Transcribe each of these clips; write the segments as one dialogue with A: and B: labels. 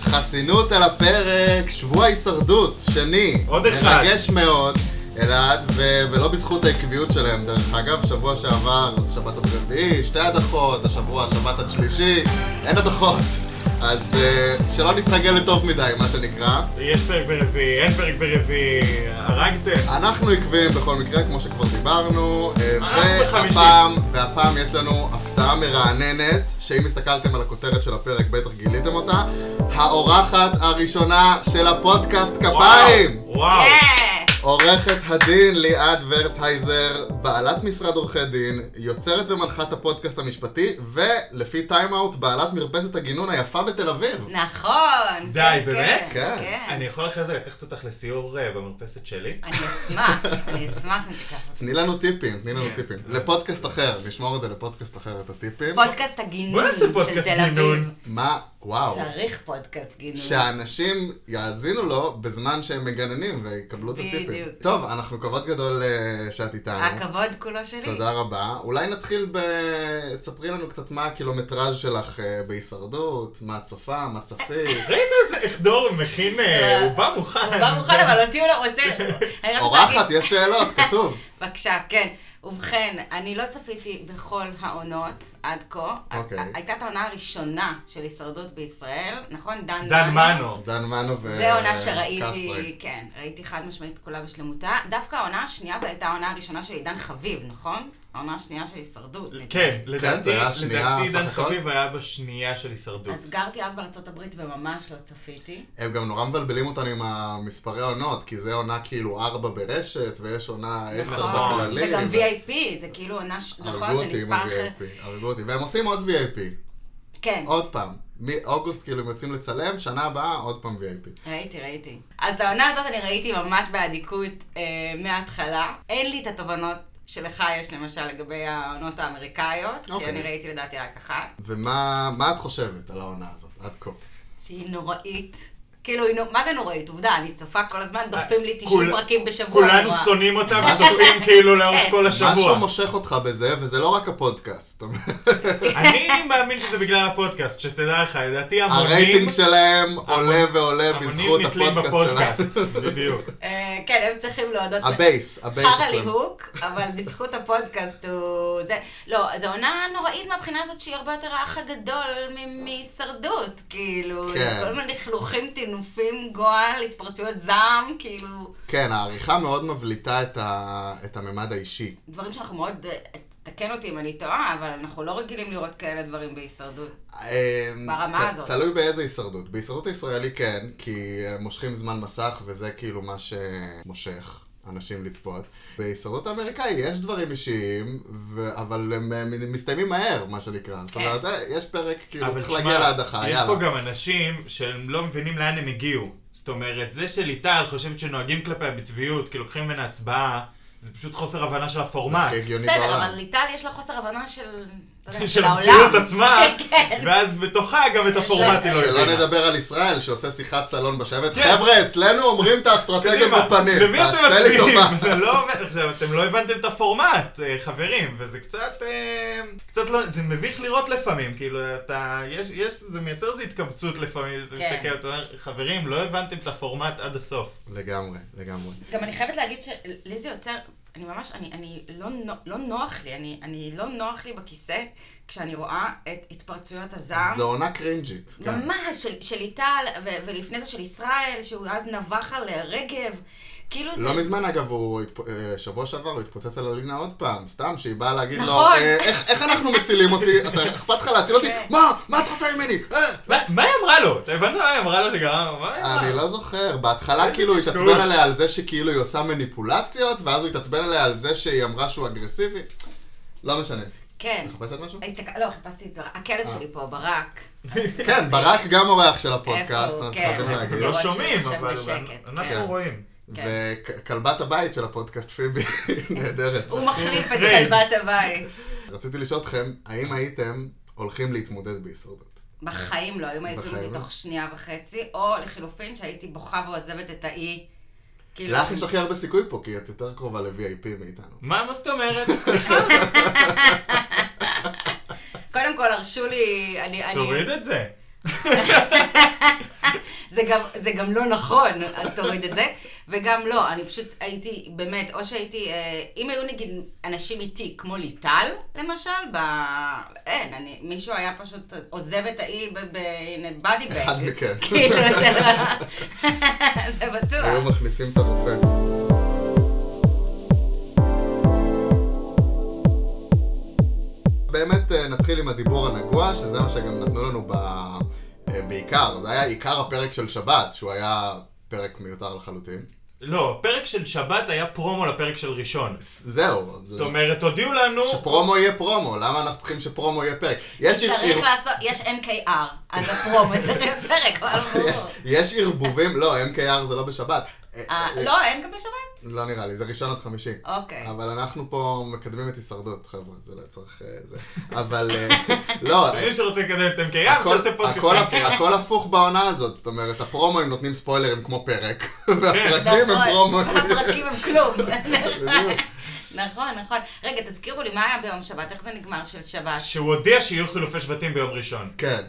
A: חסינות על הפרק, שבוע ההישרדות, שני.
B: עוד אחד.
A: מרגש מאוד, אלעד, ו- ולא בזכות העקביות שלהם, דרך אגב, שבוע שעבר, שבת עד רביעי, שתי הדחות, השבוע שבת עד שלישי, אין הדחות. אז uh, שלא נתרגל לטוב מדי, מה שנקרא.
B: יש פרק ברביעי, אין פרק ברביעי, הרגתם.
A: אנחנו עקביים בכל מקרה, כמו שכבר דיברנו, אה,
B: אנחנו בחמישי.
A: והפעם, והפעם יש לנו הפתעה מרעננת, שאם הסתכלתם על הכותרת של הפרק בטח גיליתם אותה, האורחת הראשונה של הפודקאסט כפיים!
B: וואו, וואו.
A: עורכת הדין ליעד ורצהייזר, בעלת משרד עורכי דין, יוצרת ומנחה את הפודקאסט המשפטי, ולפי טיים-אאוט, בעלת מרפסת הגינון היפה בתל אביב.
C: נכון.
B: די,
C: כן,
B: באמת?
A: כן.
C: כן. כן.
B: אני יכול אחרי זה לקחת אותך לסיור אה, במרפסת שלי?
C: אני אשמח, אני אשמח אם תיקח אותי.
A: תני לנו טיפים, תני לנו
B: כן.
A: טיפים. לפודקאסט אחר, נשמור את זה לפודקאסט אחר, את הטיפים.
C: פודקאסט הגינון
B: בוא נעשה
C: של
B: פודקאסט
C: תל אביב.
B: גינון.
A: מה, וואו.
C: צריך פודקאסט גינון.
A: שהאנשים יאזינו לו בזמן שהם מגננים ויקבלו את הטיפים.
C: בדיוק.
A: טוב, אנחנו כבוד גדול אה, שאת איתנו.
C: הכבוד כולו שלי.
A: תודה רבה. אולי נתחיל ב... תספרי לנו קצת מה הקילומטראז' שלך אה, בהישרדות, מה את צופה, מה צפית.
B: ראית איזה איך דור מכין, אה, הוא בא מוכן.
C: לא. הוא בא מוכן, אבל אותי הוא לא רוצה. אני רק רוצה
A: אורחת,
C: להגיד-
A: יש שאלות, כתוב.
C: בבקשה, כן. ובכן, אני לא צפיתי בכל העונות עד כה.
A: אוקיי.
C: ה- הייתה את העונה הראשונה של הישרדות בישראל, נכון? דן
B: דן
C: מנו.
B: מנו.
A: דן מנו ו...
C: זה עונה
A: אה, קסרי.
C: שראיתי, כן, ראיתי חד משמעית את כולה בשלמותה. דווקא העונה השנייה זו הייתה העונה הראשונה של עידן חביב, נכון? העונה השנייה של הישרדות. נדמה לי.
B: כן, לדעתי,
A: היה השנייה,
B: לדעתי
A: סך
B: עידן
A: הכל.
B: חביב היה בשנייה של הישרדות.
C: אז גרתי אז בארצות הברית וממש לא צפיתי.
A: הם גם נורא מבלבלים אותנו עם המספרי העונות, כי זה עונה כאילו ארבע ברשת, ויש עונה עשר
B: נכון.
A: בכללי.
C: אה, וגם
A: ו-
C: VIP, זה כאילו עונה, ש- נכון?
A: הרגו
C: זה
A: אותי עם
C: מספר אחר.
A: ה-VIP, הרגו אותי. והם עושים עוד VIP.
C: כן,
A: עוד פעם, מאוגוסט כאילו הם יוצאים לצלם, שנה הבאה עוד פעם VIP.
C: ראיתי, ראיתי. אז את העונה הזאת אני ראיתי ממש באדיקות אה, מההתחלה. אין לי את התובנות שלך יש למשל לגבי העונות האמריקאיות, כי
A: אוקיי.
C: אני ראיתי לדעתי רק אחת.
A: ומה מה את חושבת על העונה הזאת עד כה?
C: שהיא נוראית. כאילו, היא נו- מה זה נוראית? עובדה, אני צופה כל הזמן, דוחפים לי 90
B: אה, כול-
C: פרקים בשבוע. אני
B: כולנו
C: רואה.
B: שונאים אותם
A: משהו-
B: וצופים כאילו לאורך
C: כן.
B: כל
A: משהו
B: השבוע.
A: מושך אותך בזה, וזה לא רק הפודקאסט. זאת אומרת,
B: אני מאמין שזה בגלל הפודקאסט, שתדע לך, לדעתי המונים,
A: הרייטינג שלהם עולה ועולה בזכות
B: המונים נתלים
A: הפודקאסט
B: בפודקאסט,
A: שלהם.
B: בדיוק.
C: אה, כן, הם צריכים להודות.
A: הבייס, הבייס
C: חרא
A: אצלנו.
C: ליהוק, אבל בזכות הפודקאסט הוא... זה... לא, זו עונה נוראית מהבחינה הזאת שהיא הרבה יותר האח הגדול מ- מהישרדות, כאילו.
A: כן.
C: כל מיני לכלוכים, טינופים, גועל, התפרצויות זעם, כאילו...
A: כן, העריכה מאוד מבליטה את ה- את הממד האישי.
C: דברים שאנחנו מאוד... אה, תקן אותי אם אני טועה, אבל אנחנו לא רגילים לראות כאלה דברים בהישרדות.
A: אמ,
C: ברמה
A: ת-
C: הזאת.
A: תלוי באיזה הישרדות. בהישרדות הישראלי כן, כי אה, מושכים זמן מסך וזה כאילו מה שמושך. אנשים לצפות. בהישרדות האמריקאי יש דברים אישיים, ו... אבל הם אה, מ- מסתיימים מהר, מה שנקרא. זאת
C: כן.
A: אומרת, אה, יש פרק, כאילו,
B: אבל
A: צריך
B: תשמע,
A: להגיע להדחה,
B: יש
A: יאללה.
B: פה גם אנשים שהם לא מבינים לאן הם הגיעו. זאת אומרת, זה שליטל חושבת שנוהגים כלפיה בצביעות, כי לוקחים ממנה הצבעה, זה פשוט חוסר הבנה של
A: זה
B: הפורמט.
A: הכי הגיוני
C: בסדר,
A: בעולם.
C: אבל ליטל יש לה חוסר הבנה של... אתה יודע,
B: של
C: העולם.
B: המציאות עצמה,
C: כן.
B: ואז בתוכה גם את הפורמט
C: אה,
B: היא לא
A: שלא
B: הבינה.
A: נדבר על ישראל, שעושה שיחת סלון בשבט.
B: כן.
A: חבר'ה, אצלנו אומרים את האסטרטגיה
B: קדימה,
A: בפנים.
B: למי אתם
A: תעשה לי טובה.
B: מצביעים? זה לא עובד. עכשיו, אתם לא הבנתם את הפורמט, אה, חברים, וזה קצת... אה, קצת לא... זה מביך לראות לפעמים, כאילו, אתה... יש... יש... זה מייצר איזו התכווצות לפעמים, אתה
C: כן.
B: מסתכל, אתה אומר, חברים, לא הבנתם את הפורמט עד הסוף.
A: לגמרי, לגמרי.
C: גם אני חייבת להגיד שלי זה יוצר, אני ממש, אני, אני לא, נו- לא נוח לי, אני, אני לא נוח לי בכיסא כשאני רואה את התפרצויות הזעם.
A: זו עונה קרינג'ית. כן.
C: ממש, של, של ליטל, ו- ולפני זה של ישראל, שהוא אז נבח על רגב. כאילו זה...
A: לא מזמן אגב, הוא התפ- אה, שבוע שעבר הוא התפוצץ על אלינה עוד פעם, סתם, שהיא באה להגיד לו,
C: נכון.
A: אה, איך איך אנחנו מצילים אותי? אתה אכפת לך להציל אותי?
C: כן.
A: מה? מה את רוצה ממני? אה, אה."
B: מה היא אמרה לו? אתה הבנת מה היא אמרה לו שגרם? מה היא אמרה?
A: אני לא זוכר, בהתחלה
B: איזה
A: כאילו הוא
B: קשקוש.
A: התעצבן עליה על זה שכאילו היא עושה מניפולציות, ואז הוא התעצבן עליה על זה שהיא אמרה שהוא אגרסיבי. לא משנה.
C: כן.
A: מחפשת משהו?
C: הסתכל... לא, חיפשתי את ברק. הכלב
A: אה.
C: שלי פה, ברק.
A: כן, ברק גם אורח של
C: איפה
A: הפודקאסט,
C: הוא?
A: אנחנו
C: כן,
A: חייבים
C: אבל
A: להגיד.
C: זה
B: לא
C: לראות
B: שומעים,
C: שהוא יושב
B: אבל
C: בשקט,
B: אנחנו לא
A: כן.
B: רואים.
C: כן.
A: וכלבת הבית של הפודקאסט פיבי, נהדרת.
C: הוא מחליף את
B: רד.
C: כלבת הבית.
A: רציתי לשאול אתכם, האם הייתם הולכים להתמודד בהישרדות?
C: בחיים לא, היו מעיפים
A: בחיים
C: אותי
A: לא.
C: תוך שנייה וחצי, או לחילופין שהייתי בוכה ועוזבת את האי. כאילו,
A: לך יש הכי הרבה סיכוי פה, כי את יותר קרובה ל-VIP מאיתנו.
B: מה, מה זאת אומרת? סליחה,
C: קודם כל הרשו לי, אני, אני,
B: תוריד את זה.
C: זה גם, זה גם לא נכון, אז תוריד את זה. וגם לא, אני פשוט הייתי, באמת, או שהייתי, אה, אם היו נגיד אנשים איתי, כמו ליטל, למשל, ב... אין, אני, מישהו היה פשוט עוזב את האי, ב- ב- הנה, בדי בג.
A: אחד מכם.
C: כאילו, זה לא- זה
A: היו
C: בטוח.
A: מכניסים את הרופא. באמת אה, נתחיל עם הדיבור הנגוע, שזה מה שגם נתנו לנו ב... אה, בעיקר. זה היה עיקר הפרק של שבת, שהוא היה פרק מיותר לחלוטין.
B: לא, פרק של שבת היה פרומו לפרק של ראשון.
A: ס- זהו. זה-
B: זאת אומרת, הודיעו לנו...
A: שפרומו יהיה פרומו, למה אנחנו צריכים שפרומו יהיה פרק? יש ערב-
C: צריך לעשות, יש MKR, אז הפרומו צריך להיות פרק, אבל
A: יש,
C: ברור.
A: יש ערבובים, לא, MKR זה לא בשבת.
C: אה, לא, אין גם בשבת?
A: לא נראה לי, זה ראשון עד חמישי.
C: אוקיי.
A: אבל אנחנו פה מקדמים את הישרדות, חבר'ה, זה לא צריך... אה, זה. אבל אה, לא,
B: מי שרוצה לקדם את MKR,
A: הכל-
B: שעושה פודקאסט.
A: הכל
B: MKR.
A: הפ- הכל הפוך בעונה הזאת, זאת אומרת, הפרומואים נותנים ספוילרים כמו פרק,
B: כן.
A: והפרקים הם
C: נכון,
A: פרומואים.
C: הפרקים הם כלום.
A: בדיוק.
C: נכון, נכון. רגע, תזכירו לי, מה היה ביום שבת? איך זה נגמר של שבת?
B: שהוא הודיע שיהיו חילופי שבטים ביום ראשון.
A: כן,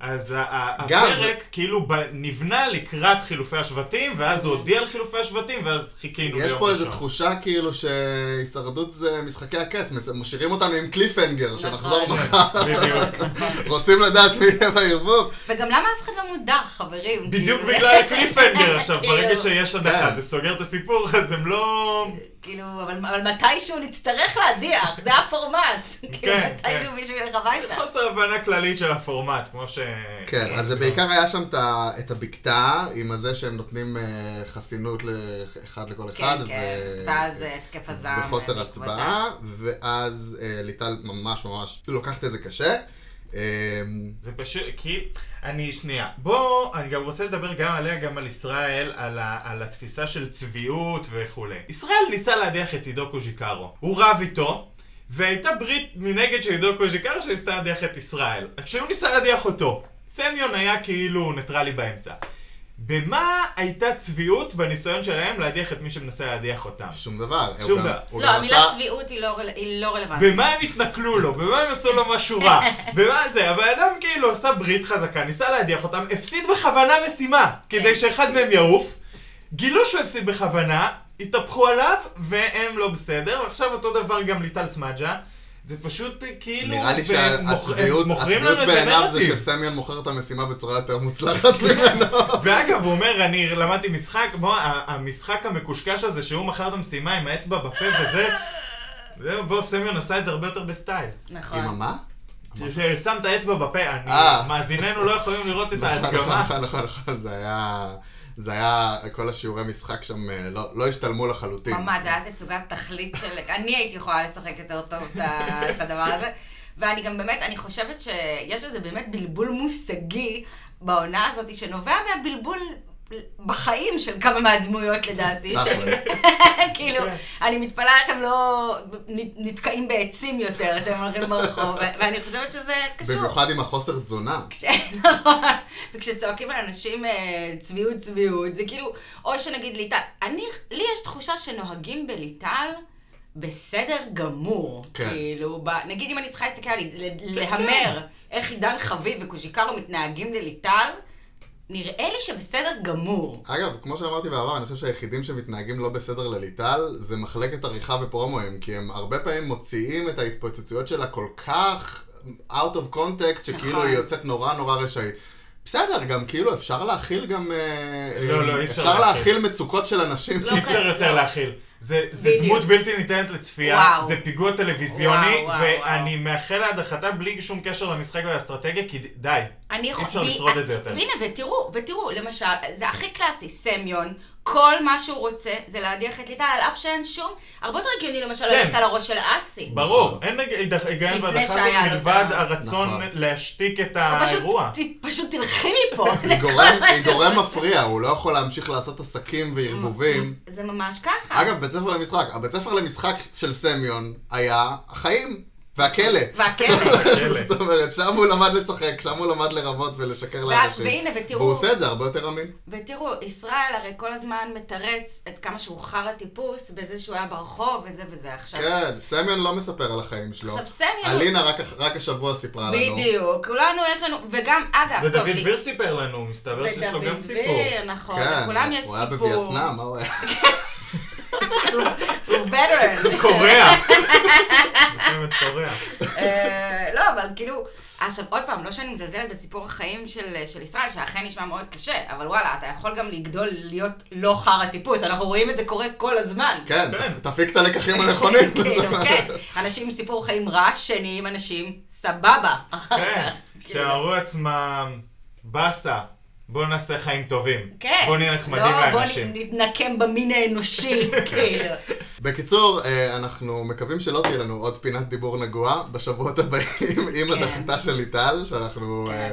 B: אז ה- ה-
A: גם
B: הפרק כאילו ב- נבנה לקראת חילופי השבטים, ואז
C: כן.
B: הוא הודיע על חילופי השבטים, ואז חיכינו ביום ראשון.
A: יש פה איזו תחושה כאילו שהישרדות זה משחקי הכס, מס- משאירים אותנו עם קליפהנגר, שנחזור
C: נכון.
A: מחר,
B: בדיוק.
A: רוצים לדעת מי יהיה בערבוב.
C: וגם למה אף אחד לא מודח, חברים?
B: בדיוק
C: כאילו,
B: בגלל הקליפהנגר עכשיו,
C: כאילו,
B: ברגע שיש הדחה
A: כן.
B: זה סוגר את הסיפור, אז הם לא...
C: כאילו, אבל אבל מתישהו נצטרך להדיח, זה הפורמט. כאילו,
B: כן,
C: מתישהו
B: כן.
C: מישהו ילך הביתה.
B: חוסר הבנה כללית של הפורמט, כמו ש... כאילו.
A: כן, אז זה
B: לא.
A: בעיקר היה שם את ה- את הבקתה, עם הזה שהם נותנים אה, חסינות לאחד לכל אחד.
C: כן,
A: ו-
C: כן, ואז אה, התקף הזעם.
A: וחוסר
C: בעקבות
A: הצבעה, ואז אה, ליטל ממש ממש לוקחת את זה קשה. אה,
B: זה פשוט, כי... אני, שנייה. בוא, אני גם רוצה לדבר גם עליה, גם על ישראל, על, ה, על התפיסה של צביעות וכולי. ישראל ניסה להדיח את עידו קוז'יקרו. הוא רב איתו, והייתה ברית מנגד של עידו קוז'יקרו שניסתה להדיח את ישראל. רק שהוא ניסה להדיח אותו. סמיון היה כאילו ניטרלי באמצע. במה הייתה צביעות בניסיון שלהם להדיח את מי שמנסה להדיח אותם?
A: שום דבר.
B: שום
A: הוא גם-
B: דבר.
A: הוא
C: לא,
A: גם
C: המילה
A: עשה-
C: צביעות היא לא רל- היא לא רלוונטית.
B: במה הם התנכלו לו? במה הם עשו לו משהו רע? במה זה? הבן אדם כאילו עשה ברית חזקה, ניסה להדיח אותם, הפסיד בכוונה משימה, כדי שאחד מהם יעוף. גילו שהוא הפסיד בכוונה, התהפכו עליו, והם לא בסדר, ועכשיו אותו דבר גם ליטל סמג'ה. זה פשוט אה, כאילו...
A: נראה לי
B: והם
A: שהצביעות
B: מוכרים- מוכרים
A: הצביעות
B: לנו את
A: בעיניו זה
B: הנרטיב.
A: שסמיון מוכר את המשימה בצורה יותר מוצלחת ממנו.
B: ואגב, הוא אומר, אני למדתי משחק, בוא, ה- המשחק המקושקש הזה שהוא מכר את המשימה עם האצבע בפה וזה, זהו, בוא, סמיון עשה את זה הרבה יותר בסטייל.
A: עם
C: נכון.
A: מה?
B: ששם את האצבע בפה, אני,
A: אה.
B: מאזיננו לא יכולים לראות את
A: נכון, נכון,
B: ההדגמה.
A: נכון, נכון, נכון, זה היה... זה היה, כל השיעורי משחק שם אה, לא לא השתלמו לחלוטין.
C: ממש, זה היה תצוגת תכלית של... אני הייתי יכולה לשחק יותר טוב את ה- את הדבר הזה. ואני גם באמת, אני חושבת שיש איזה באמת בלבול מושגי בעונה הזאת, שנובע מהבלבול בחיים של כמה מהדמויות לדעתי. של-
A: תכל'ס.
C: כאילו,
B: כן.
C: אני מתפלאה איך הם לא נ- נתקעים בעצים יותר כשהם הולכים ברחוב, ו- ואני חושבת שזה קשור.
A: במיוחד עם החוסר תזונה.
C: כש- נכון. וכשצועקים על אנשים אה, צביעות צביעות, זה כאילו, או שנגיד ליטל, אני, לי יש תחושה שנוהגים בליטל בסדר גמור.
A: כן.
C: כאילו, ב, נגיד אם אני צריכה להסתכל על, ל-
B: כן,
C: להמר איך עידן חביב וקוז'יקרו מתנהגים לליטל, נראה לי שבסדר גמור.
A: אגב, כמו שאמרתי בעבר, אני חושב שהיחידים שמתנהגים לא בסדר לליטל זה מחלקת עריכה ופרומואים, כי הם הרבה פעמים מוציאים את ההתפוצצויות שלה כל כך out of context, שכאילו
C: נכון.
A: היא יוצאת נורא נורא רשאית. בסדר, גם כאילו אפשר להכיל גם... אה,
B: לא,
A: אה,
B: לא, אי אפשר
A: אפשר
B: להכיל.
A: להכיל מצוקות של אנשים.
C: לא.
B: אי אפשר
C: אוקיי,
B: יותר
C: לא.
B: להכיל. זה זה
C: בדיוק.
B: דמות בלתי ניתנת לצפייה,
C: וואו.
B: זה פיגוע טלוויזיוני,
C: וואו, וואו,
B: ואני מאחל להדחתה בלי שום קשר למשחק ולאסטרטגיה, כי ד- די.
C: אני יכול...
B: אי אפשר
C: בי-
B: לשרוד את זה
C: אה,
B: יותר.
C: והנה, ותראו, ותראו, למשל, זה הכי קלאסי, סמיון, כל מה שהוא רוצה זה להדיח את ליטל, על אף שאין שום, הרבה יותר הגיוני למשל
B: כן.
C: ללכת על הראש של אסי.
B: ברור,
A: נכון.
B: אין הג- היגיון
C: לפני
B: והדחה
C: שהיה לו את
B: מלבד
C: ה-
B: הרצון
A: נכון.
B: להשתיק את
C: פשוט,
B: האירוע.
C: ת- פשוט תלכי מפה. זה
A: היא
C: כל
A: גורם-
C: מה
A: היא
C: שהוא-
A: גורם מפריע, הוא לא יכול להמשיך לעשות עסקים וערבובים.
C: זה ממש ככה.
A: אגב, בית ספר למשחק, הבית ספר למשחק של סמיון היה החיים. והכלא.
C: והכלא.
B: הכלא.
A: זאת אומרת, שם הוא למד לשחק, שם הוא למד לרמות ולשקר
C: וה-
A: לאנשים.
C: והנה, ותראו-
A: והוא עושה את זה הרבה יותר אמין.
C: ותראו, ישראל הרי כל הזמן מתרץ את כמה שהוא חרא טיפוס בזה שהוא היה ברחוב וזה וזה עכשיו.
A: כן, סמיון לא מספר על החיים שלו.
C: עכשיו, סמיון-
A: אלינה רק- רק השבוע סיפרה לנו.
C: בדיוק, כולנו יש לנו, וגם, אגב, טוב,
B: ודוד
C: לי-
B: ויר סיפר לנו, מסתבר שיש לו גם
C: ודוד
B: סיפור.
C: ויר, נכון,
A: כן,
C: לכולם יש
A: הוא היה
C: סיפור.
A: בווייטנאם, מה הוא היה?
C: הוא וטרן.
B: קוריאה. מלחמת קוריאה.
C: אה, לא, אבל כאילו, עכשיו עוד פעם, לא שאני מזלזלת בסיפור החיים של, של ישראל, שאכן נשמע מאוד קשה, אבל וואלה, אתה יכול גם לגדול להיות לא חרא טיפוס, אנחנו רואים את זה קורה כל הזמן.
A: כן, לא
B: כן.
A: תפיק את הלקחים הנכונים.
C: כאילו, כן. אנשים עם סיפור חיים רע, שנהיים אנשים סבבה.
B: כן,
C: כאילו.
B: שאמרו לעצמם, באסה, בואו נעשה חיים טובים.
C: כן.
B: בואו נהיה נחמדים
C: לא,
B: לאנשים.
C: בוא נתנקם במין האנושי, כאילו.
A: בקיצור, אה, אנחנו מקווים שלא תהיה לנו עוד פינת דיבור נגוע בשבועות הבאים עם
C: כן.
A: הדחתה של ליטל, שאנחנו... אה,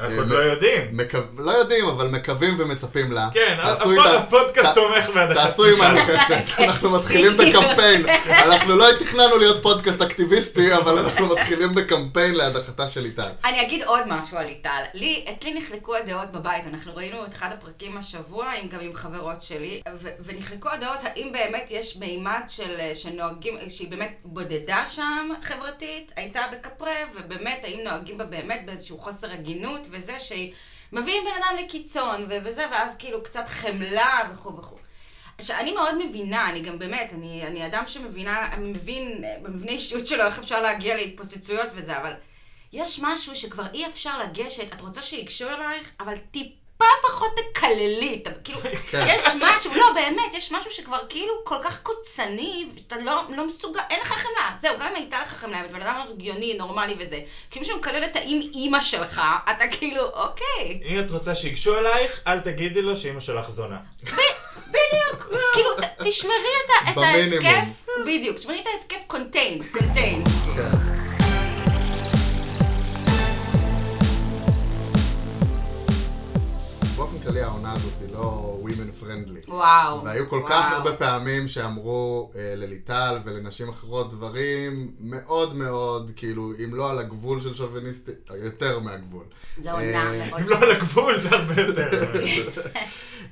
B: אנחנו
A: אה,
B: עוד לא יודעים.
A: מקו- לא יודעים, אבל מקווים ומצפים לה.
B: כן,
A: תעשו
B: הפוד-
A: איתה-
B: הפודקאסט
A: ת-
B: תומך בהדחת
A: תעשו עמנו
B: ליטל.
A: חסד, אנחנו מתחילים
C: בדיוק.
A: בקמפיין. אנחנו לא תכננו להיות פודקאסט אקטיביסטי, אבל אנחנו מתחילים בקמפיין להדחתה של ליטל.
C: אני אגיד עוד משהו על ליטל. לי, אצלי נחלקו הדעות בבית, אנחנו ראינו את אחד הפרקים השבוע, עם, גם עם חברות שלי, ו- ונחלקו הדעות האם באמת יש מימד של, אה, שנוהגים, אה, שהיא באמת בודדה שם חברתית, הייתה בקפרה, ובאמת האם נוהגים בה באמת באיזשהו חוסר הגינות, וזה שהיא מביאים בן אדם לקיצון, ו- וזה, ואז כאילו קצת חמלה וכו' וכו'. שאני מאוד מבינה, אני גם באמת, אני, אני אדם שמבינה, מבין אה, במבנה אישיות שלו איך אפשר להגיע להתפוצצויות וזה, אבל יש משהו שכבר אי אפשר לגשת, את רוצה שיגשו אלייך, אבל טיפה פחות תקללי, אתה- כאילו,
A: כן.
C: יש משהו, לא באמת, יש משהו שכבר כאילו כל כך קוצני, שאתה לא, לא מסוגל, אין לך חמלה, זהו, גם אם הייתה לך חמלה, אם אתה בן אדם הגיוני, נורמלי וזה, כאילו מישהו מקלל את האם אימא שלך, אתה כאילו, אוקיי.
B: אם את רוצה שיגשו אלייך, אל תגידי לו שאימא שלך זונה.
C: בדיוק, כאילו, ת- תשמרי את ה- את
A: במינימום.
C: ההתקף, בדיוק, תשמרי את ההתקף קונטיין, קונטיין.
A: באופן כללי העונה הזאת היא לא women friendly.
C: וואו.
A: והיו כל
C: וואו.
A: כך הרבה פעמים שאמרו אה, לליטל ולנשים אחרות דברים מאוד מאוד, כאילו, אם לא על הגבול של שוביניסטי, יותר מהגבול.
C: זה עונה
A: אה,
C: מאוד...
B: אם לא על הגבול, זה הרבה יותר.
C: לא.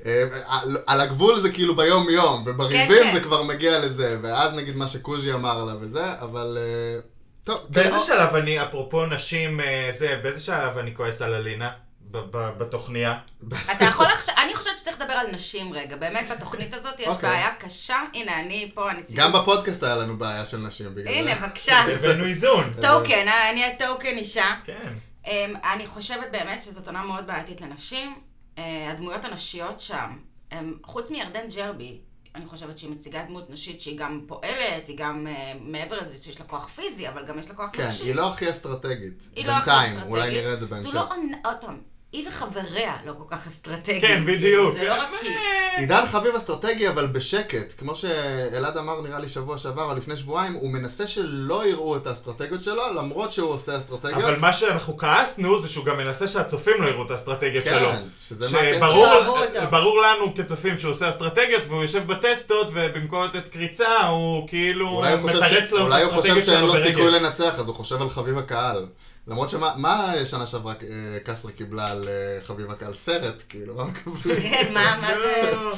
A: אה, על- על הגבול זה כאילו ביום-יום,
C: כן.
A: ובריבים זה כבר מגיע לזה, ואז נגיד מה שקוז'י אמר לה וזה, אבל... אה, טוב,
B: באיזה
A: כאילו,
B: שלב אני, אפרופו נשים, אה, זה, באיזה שלב אני כועס על אלינה? ב- ב- בתוכניה?
A: לא-
C: אתה יכול עכשיו, אני חושבת שצריך לדבר על נשים רגע, באמת בתוכנית הזאת יש
A: אוקיי.
C: בעיה קשה, הנה אני פה הנציגה.
A: גם בפודקאסט היה לנו בעיה של נשים בגלל זה.
C: הנה, בבקשה.
B: הבאנו איזון.
C: טוקן, אה, אני הטוקן אישה.
B: כן.
C: אמ, אני חושבת באמת שזאת עונה מאוד בעייתית לנשים. אה, הדמויות הנשיות שם, הם, חוץ מירדן ג'רבי, אני חושבת שהיא מציגה דמות נשית שהיא גם פועלת, היא גם אה, מעבר לזה שיש לה כוח פיזי, אבל גם יש לה כוח
A: כן,
C: נשי.
A: היא לא הכי אסטרטגית.
C: היא לא הכי
A: בינתיים,
C: אסטרטגית.
A: אולי נראה את זה בהמשך.
C: זו לא עונה, עוד פעם, היא וחבריה לא כל כך אסטרטגיים.
B: כן, בדיוק. אה,
C: זה לא רק היא.
A: עידן חביב אסטרטגי, אבל בשקט. כמו שאלעד אמר, נראה לי, שבוע שעבר או לפני שבועיים, הוא מנסה שלא יראו את האסטרטגיות שלו, למרות שהוא עושה אסטרטגיות.
B: אבל מה שאנחנו כעסנו זה שהוא גם מנסה שהצופים לא יראו את האסטרטגיות
A: כן,
B: שלו.
A: שזה מה הקטע.
B: שברור
C: שאהבו אותו.
B: ברור לנו כצופים שהוא עושה אסטרטגיות והוא יושב בטסטות ובמקום לתת קריצה הוא כאילו
A: אולי הוא חושב
B: מתרץ
A: ש-
B: לנו את
A: אולי הוא חושב
B: האסטרטגיות
A: שאין
B: שלו
A: לו סיכוי
B: ברגש.
A: לנצח, אז הוא חושב על חביב הקהל. למרות שמה מה שנה שעברה אה, קסרי קיבלה על אה, חביב הקהל? סרט, כאילו, מה מקבלים?
C: כן, מה, מה זה...
B: לא.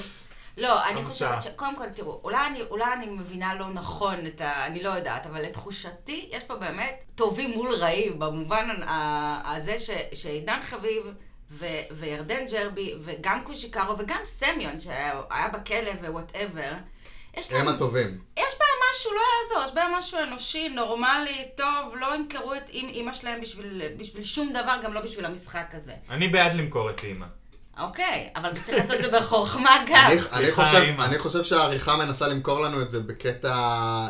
C: לא, אני
B: המצאה.
C: חושבת ש... קודם כל, תראו, אולי אני, אולי אני מבינה לא נכון את ה... אני לא יודעת, אבל לתחושתי, יש פה באמת טובים מול רעים, במובן ה- ה- הזה ש... שעידן חביב ו... וירדן ג'רבי, וגם קושיקרו, וגם סמיון, שהיה היה בכלא ווואטאבר, יש
A: הם
C: להם...
A: הטובים.
C: יש בהם משהו, לא יעזור, יש בהם משהו אנושי, נורמלי, טוב, לא ימכרו את אימ- אימא שלהם בשביל, בשביל שום דבר, גם לא בשביל המשחק הזה.
B: אני בעד למכור את אימא.
C: אוקיי, אבל צריך לעשות את זה בחוכמה גם.
A: אני- אני
B: סליחה,
A: חושב-
B: אימא.
A: אני חושב שהעריכה מנסה למכור לנו את זה בקטע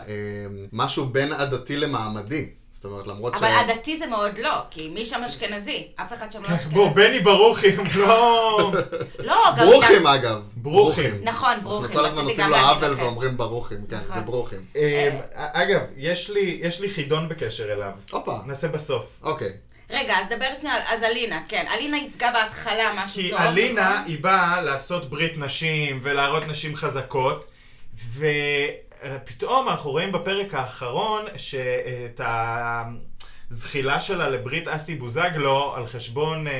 A: אה, משהו בין עדתי למעמדי. זאת אומרת, למרות ש... כן,
C: אבל עדתי זה מאוד לא, כי מי שם אשכנזי? אף אחד שם לא
B: בוא,
C: אשכנזי.
B: בני ברוכי, הוא לא...
C: לא, גם...
A: ברוכים,
C: גם-
A: אגב.
B: ברוכים.
C: נכון,
A: אנחנו
C: ברוכים.
A: כל הזמן
C: רציתי
A: עושים
C: גם
A: לו
C: להגיד
A: עוול
C: לכם.
A: ואומרים ברוכים, כן,
C: נכון.
A: זה ברוכים.
B: אמ, אגב, יש לי- יש לי חידון בקשר אליו.
A: הופה.
B: נעשה בסוף.
A: אוקיי.
C: רגע, אז דבר שנייה, על- אז אלינה, כן. אלינה ייצגה בהתחלה משהו
B: כי
C: טוב.
B: אלינה,
C: נכון?
B: היא באה לעשות ברית נשים ולהראות נשים חזקות, ו... פתאום אנחנו רואים בפרק האחרון שאת הזחילה שלה לברית אסי בוזגלו על חשבון אה,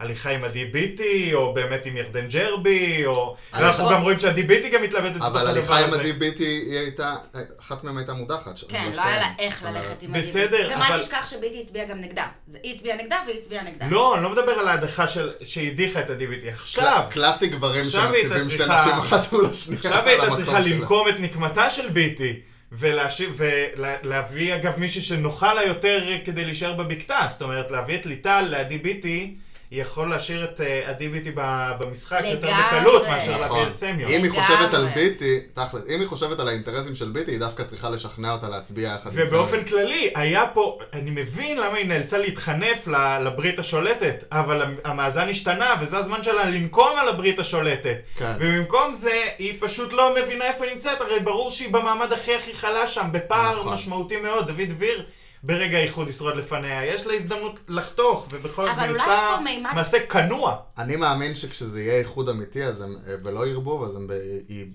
B: הליכה עם עדי ביטי, או באמת עם ירדן ג'רבי, או...
A: אני
B: ואנחנו
A: חושב-
B: גם רואים שעדי ביטי גם מתלבטת בתוך
A: אבל
B: הדבר
A: הליכה עם
B: הזה.
A: ה-DBT היא הייתה, אחת מהן הייתה מודחת.
C: כן, לא
A: שתיים.
C: היה לה איך
A: זאת אומרת,
C: ללכת עם הדיבור.
B: בסדר,
C: גם
B: אבל-
C: אל תשכח שביטי הצביעה גם נגדה. זה- היא הצביעה נגדה והיא הצביעה נגדה.
B: לא, אני לא מדבר על ההדחה של... שהדיחה את עדי ביטי. עכשיו,
A: קל- קלאסי גברים
B: עכשיו היא הייתה
A: שמציבים שתי
B: צריכה-
A: נשים אחת מול השנייה.
B: עכשיו היא
A: על
B: הייתה
A: המקום
B: צריכה
A: שלה.
B: למקום את נקמתה של ביטי, ולהשיב- ולהביא אגב מישהי שנוחה לה יותר כדי להישאר בבקתה, זאת אומרת להביא את ליטל לעדי ביטי. היא יכול להשאיר את אה, עדי ביטי ב- במשחק יותר
C: לגמרי.
B: בקלות מאשר
A: נכון.
B: להביא את סמיון.
A: אם היא חושבת על
C: לגמרי.
A: ביטי, תכל'ס, אם היא חושבת על האינטרסים של ביטי, היא דווקא צריכה לשכנע אותה להצביע יחד עם
B: ובאופן
A: סמל.
B: כללי, היה פה, אני מבין למה היא נאלצה להתחנף ל- לברית השולטת, אבל המ- המאזן השתנה, וזה הזמן שלה לנקום על הברית השולטת.
A: כן.
B: ובמקום זה, היא פשוט לא מבינה איפה היא נמצאת, הרי ברור שהיא במעמד הכי הכי חלש שם, בפער
A: נכון.
B: משמעותי מאוד, דוד דביר. ברגע האיחוד ישרוד לפניה, יש לה הזדמנות לחתוך, ובכל זאת
C: אבל אולי
B: נעשה
C: יש פה מימד-
B: מעשה כנוע.
A: אני מאמין שכשזה יהיה איחוד אמיתי אז הם, אה, ולא ירבו, אז הם, ב- היא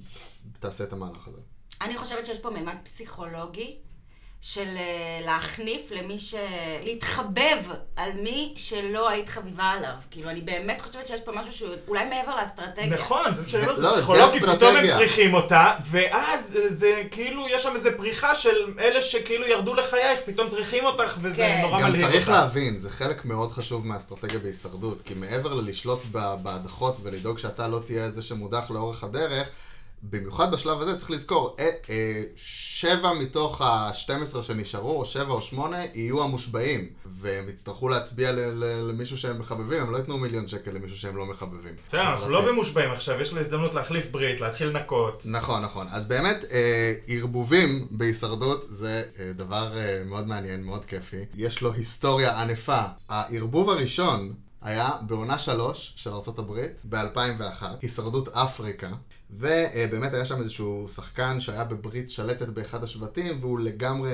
A: תעשה את המהלך הזה.
C: אני חושבת שיש פה מימד פסיכולוגי של אה, להחניף למי ש... להתחבב על מי שלא היית חביבה עליו. כאילו, אני באמת חושבת שיש פה משהו שהוא אולי מעבר לאסטרטגיה.
B: נכון, זה מה שאני
A: לא,
B: אומר, זה
A: זה
B: פסיכולוגי, פתאום הם
A: אסטרטגיה.
B: צריכים אותה, ואז אה, זה כאילו, יש שם איזו פריחה של אלה שכאילו ירדו לחייך, פתאום צריכים אותך, וזה
C: כן.
B: נורא
A: גם
B: מלהיב
A: צריך
B: אותה.
A: להבין, זה חלק מאוד חשוב מהאסטרטגיה בהישרדות, כי מעבר ללשלוט ב- בהדחות ולדאוג שאתה לא תהיה זה שמודח לאורך הדרך, במיוחד בשלב הזה צריך לזכור, אה, אה, שבע מתוך ה-12 שנשארו, או שבע או שמונה, יהיו המושבעים. והם יצטרכו להצביע ל- ל- למישהו שהם מחבבים, הם לא ייתנו מיליון שקל למישהו שהם לא מחבבים.
B: תראה, אנחנו לא במושבעים עכשיו, יש לה הזדמנות להחליף ברית, להתחיל לנקות.
A: נכון, נכון. אז באמת, אה, ערבובים בהישרדות זה אה, דבר אה, מאוד מעניין, מאוד כיפי. יש לו היסטוריה ענפה. הערבוב הראשון היה בעונה 3 של ארה"ב, ב-2001, הישרדות אפריקה. ובאמת היה שם איזשהו שחקן שהיה בברית שלטת באחד השבטים והוא לגמרי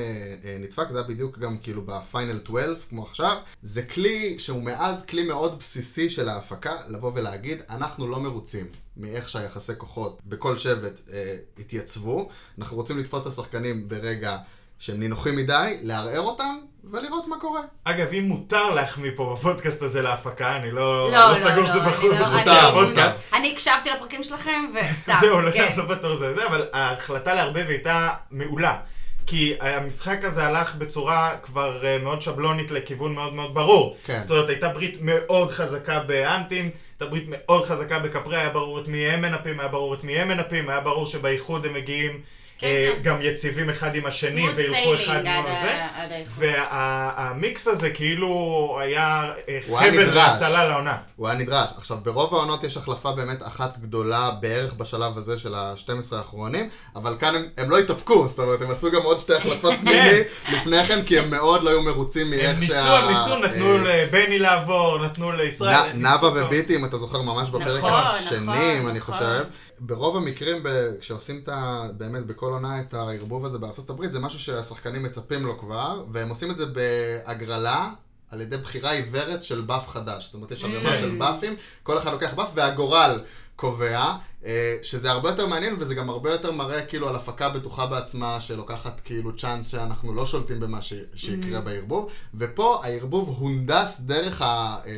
A: אה, נדפק, זה היה בדיוק גם כאילו בפיינל 12 כמו עכשיו. זה כלי שהוא מאז כלי מאוד בסיסי של ההפקה, לבוא ולהגיד, אנחנו לא מרוצים מאיך שהיחסי כוחות בכל שבט אה, התייצבו, אנחנו רוצים לתפוס את השחקנים ברגע שהם נינוחים מדי, לערער אותם ולראות מה קורה.
B: אגב, אם מותר להחמיא פה בפודקאסט הזה להפקה, אני לא...
C: לא, לא, לא,
B: סגור שזה
C: אני
B: בחוץ,
C: לא-
B: זה
C: אני-
A: מותר,
B: בפודקאסט.
C: אני הקשבתי לפרקים שלכם, וסתם,
B: זהו, לא-
C: כן.
B: לא בטוח זה זה, אבל ההחלטה לערבב הייתה מעולה. כי המשחק הזה הלך בצורה כבר אה, מאוד שבלונית לכיוון מאוד מאוד ברור.
A: כן.
B: זאת אומרת, הייתה ברית מאוד חזקה באנטים, הייתה ברית מאוד חזקה בכפרי, היה ברור את מי הם מנפים, היה ברור את מי הם מנפים, היה ברור שבאיחוד הם מגיעים
C: כן,
B: אה,
C: כן.
B: גם יציבים אחד עם השני,
C: Smooth
B: וילכו אחד מול
C: sailing עד ה-
B: זה.
C: עד האיחוד.
B: והמיקס הזה כאילו היה אה,
A: הוא היה
B: חבל
A: נדרש.
B: להצלה לעונה.
A: הוא היה נדרש. עכשיו, ברוב העונות יש החלפה באמת אחת גדולה בערך בשלב הזה של ה-12 האחרונים, אבל כאן הם, הם לא התאפקו, זאת אומרת, הם עשו גם עוד שתי החלפות מיני לפני כן, כי הם מאוד לא היו מרוצים מאיך
B: כן. הם ניסו,
A: שה-
B: הם ניסו, נתנו
A: אה,
B: לבני לעבור, נתנו לישראל.
A: נ-
B: ניסו
A: נאוה
B: טוב.
A: וביטי, אם אתה זוכר, ממש בפרק
C: נכון,
A: השני,
C: נכון,
A: אם אני
C: נכון.
A: חושב. ברוב המקרים, ב- כשעושים את ה... באמת בכל עונה את הערבוב הזה בארצות הברית, זה משהו שהשחקנים מצפים לו כבר, והם עושים את זה בהגרלה. על ידי בחירה עיוורת של באף חדש. זאת אומרת, יש ערימה
B: Mm.
A: של באפים, כל אחד לוקח באף, והגורל קובע, אה, שזה הרבה יותר מעניין, וזה גם הרבה יותר מראה כאילו על הפקה בטוחה בעצמה, שלוקחת כאילו צ'אנס שאנחנו לא שולטים במה ש-
C: Mm.
A: שיקרה בערבוב. ופה הערבוב הונדס דרך ה... אה,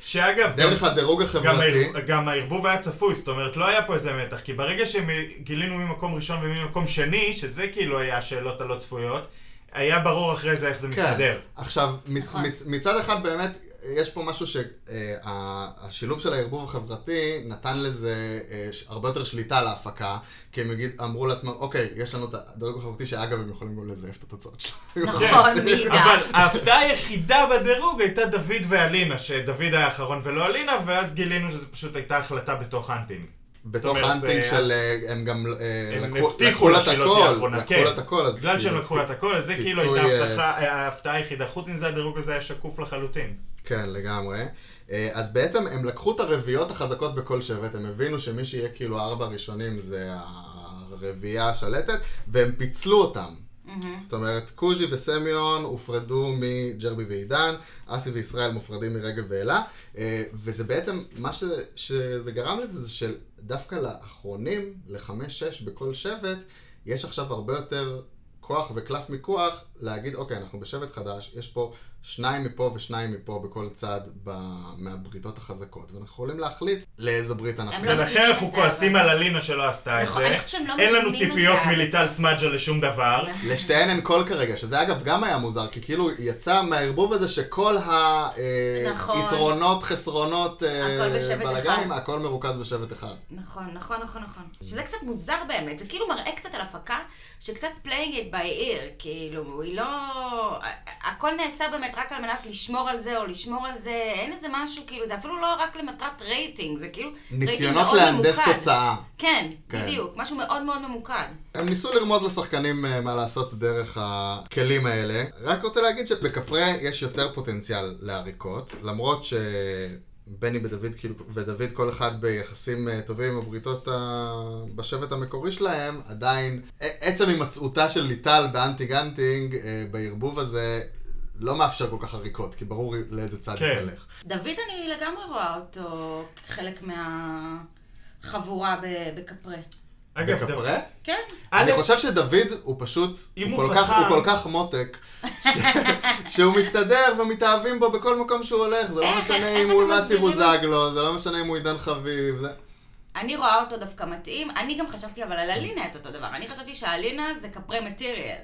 B: שאגב, גם-
A: דרך הדירוג
B: גם
A: החברתי.
B: הערב- גם הערבוב היה צפוי, זאת אומרת, לא היה פה איזה מתח, כי ברגע שגילינו ממקום ראשון וממקום שני, שזה כאילו היה השאלות הלא צפויות, היה ברור אחרי זה איך
A: כן.
B: זה מסתדר.
A: עכשיו, מצ,
C: נכון.
A: מצ, מצד אחד באמת, יש פה משהו שהשילוב של הערבוב החברתי נתן לזה אה, ש- הרבה יותר שליטה על ההפקה, כי הם יגיד, אמרו לעצמם, אוקיי, יש לנו את הדירוג החברתי, שאגב, הם יכולים גם לזייף את התוצאות שלהם.
C: נכון.
B: כן.
C: מאידך.
B: אבל ההפתעה היחידה בדירוג הייתה דוד ואלינה, שדוד היה האחרון ולא אלינה, ואז גילינו שזו פשוט הייתה החלטה בתוך הנטינג.
A: בתוך
B: אומרת,
A: האנטינג
B: אה,
A: של, אה, הם גם אה,
B: הם
A: לקחו-
B: הבטיחו
A: לקחו
B: לה
A: לה את
B: שהיא לא תהיה
A: הכל,
B: אחרונה,
A: לקחו
B: כן.
A: לה את הכל, אז
B: בגלל שהם
A: כאילו,
B: לקחו לה את הכל, אז זה כאילו
A: פיצוי,
B: הייתה
A: אה,
B: הבטחה- ההפתעה היחידה. חוץ מזה הדירוג הזה היה שקוף לחלוטין.
A: כן, לגמרי. אה, אז בעצם הם לקחו את הרביעיות החזקות בכל שבט, הם הבינו שמי שיהיה כאילו הארבע הראשונים זה הרביעייה השלטת, והם פיצלו אותם. זאת אומרת, קוז'י וסמיון הופרדו מג'רבי ועידן, אסי וישראל מופרדים מרגב ואלה, אה, וזה בעצם, מה ש, שזה גרם לזה זה שדווקא לאחרונים, לחמש-שש בכל שבט, יש עכשיו הרבה יותר כוח וקלף מיקוח להגיד, אוקיי, אנחנו בשבט חדש, יש פה שניים מפה ושניים מפה בכל צד ב- מהבריתות החזקות, ואנחנו יכולים להחליט לאיזה ברית אנחנו...
C: לא
B: ולכן
C: מבינים
B: אנחנו
C: את זה,
B: כועסים
C: אבל-
B: על הלינה שלא עשתה את
C: נכון,
B: זה.
C: אני חושבת שהם לא
B: אין לנו
C: מבינים את
B: ציפיות
C: זה. נכון.
B: מליטל סמדג'ה לשום דבר.
A: לשתיהן אין קול כרגע, שזה אגב גם היה מוזר, כי כאילו יצא מהערבוב הזה שכל
C: נכון.
A: היתרונות, חסרונות, אה,
C: הכל בשבט
A: בלאגנים,
C: אחד.
A: הכל מרוכז בשבט אחד.
C: נכון, נכון, נכון, נכון. שזה קצת מוזר באמת, זה כאילו מראה קצת על הפקה שקצת playing it by ear, כאילו, היא לא... הכל נעשה באמת רק על מנת לשמור על זה או לשמור על זה, אין איזה משהו, כאילו, זה אפילו לא רק למטרת רייטינג, זה כאילו... רייטינג
A: ניסיונות
C: מאוד
A: להנדס
C: ממוקד.
A: תוצאה.
C: כן,
A: כן.
C: בדיוק, משהו מאוד מאוד ממוקד.
A: הם ניסו לרמוז לשחקנים אה, מה לעשות דרך הכלים האלה. רק רוצה להגיד שבקפרה יש יותר פוטנציאל לעריקות, למרות שבני ודוד, כאילו, ודוד כל אחד ביחסים אה, טובים עם הבריתות ה... בשבט המקורי שלהם, עדיין ע- עצם הימצאותה של ליטל באנטינג אנטינג אה, בערבוב הזה לא מאפשר כל כך עריקות, כי ברור לאיזה צד היא
B: כן.
A: תלך.
C: דוד, אני לגמרי רואה אותו כחלק מהחבורה ב- בקפרה.
B: אגב, דבר-
A: בקפרה?
C: כן?
A: אני
B: א',
A: חושב שדוד הוא פשוט,
B: אם
A: הוא
B: הוא
A: כל כך-
B: חכם-
A: הוא כל כך מותק, ש- שהוא מסתדר ומתאהבים בו בכל מקום שהוא הולך, זה לא
C: איך-
A: משנה
C: איך
A: אם
C: אתם
A: הוא נאסי
C: מסבירים את זה?
A: בוזג לו, זה לא משנה אם הוא עידן חביב, זה...
C: אני רואה אותו דווקא מתאים. אני גם חשבתי אבל על אלינה את אותו דבר. אני חשבתי שאלינה זה קפרה מטיריאל.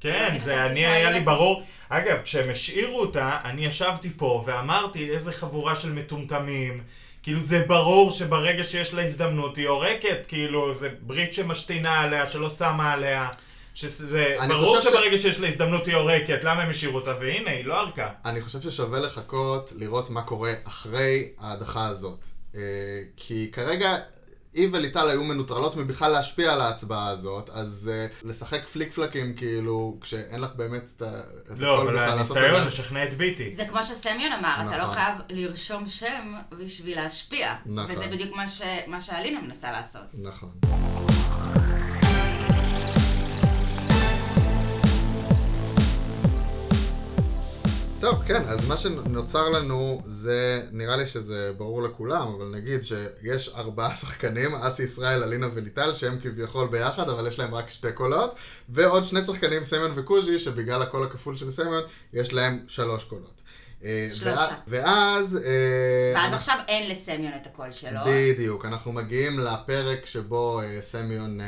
B: כן,
C: אני
B: זה
C: חשבתי
B: אני,
C: שאני
B: היה
C: לא
B: לי
C: תס-
B: ברור. אגב, כשהם השאירו אותה, אני ישבתי פה ואמרתי, איזה חבורה של מטומטמים. כאילו, זה ברור שברגע שיש לה הזדמנות, היא יורקת. כאילו, זה ברית שמשתינה עליה, שלא שמה עליה. שזה
A: אני
B: ברור
A: חושב ש-
B: שברגע שיש לה הזדמנות, היא יורקת. למה הם השאירו אותה? והנה, היא לא ערקה.
A: אני חושב ששווה לחכות לראות מה קורה אחרי ההדחה הזאת. אה, כי כרגע היא וליטל היו מנוטרלות מבכלל להשפיע על ההצבעה הזאת, אז אה, לשחק פליק פלקים כאילו, כשאין לך באמת את ה... את
B: לא,
A: הכל
B: אבל
A: בכלל לעשות את
B: הניסיון
A: זה.
B: לשכנע את ביטי.
C: זה כמו שסמיון אמר, אתה לא
A: נכון.
C: חייב לרשום שם בשביל להשפיע.
A: נכון.
C: וזה בדיוק מה ש- מה שאלינה מנסה לעשות.
A: נכון. טוב, כן, אז מה שנוצר לנו זה, נראה לי שזה ברור לכולם, אבל נגיד שיש ארבעה שחקנים, אסי ישראל, אלינה וליטל, שהם כביכול ביחד, אבל יש להם רק שתי קולות, ועוד שני שחקנים, סמיון וקוז'י, שבגלל הקול הכפול של סמיון, יש להם שלוש קולות. אה,
C: שלושה.
A: ואז- ואז... אה,
C: ואז עכשיו אין לסמיון את הקול שלו.
A: בדיוק, אנחנו מגיעים לפרק שבו אה, סמיון אה,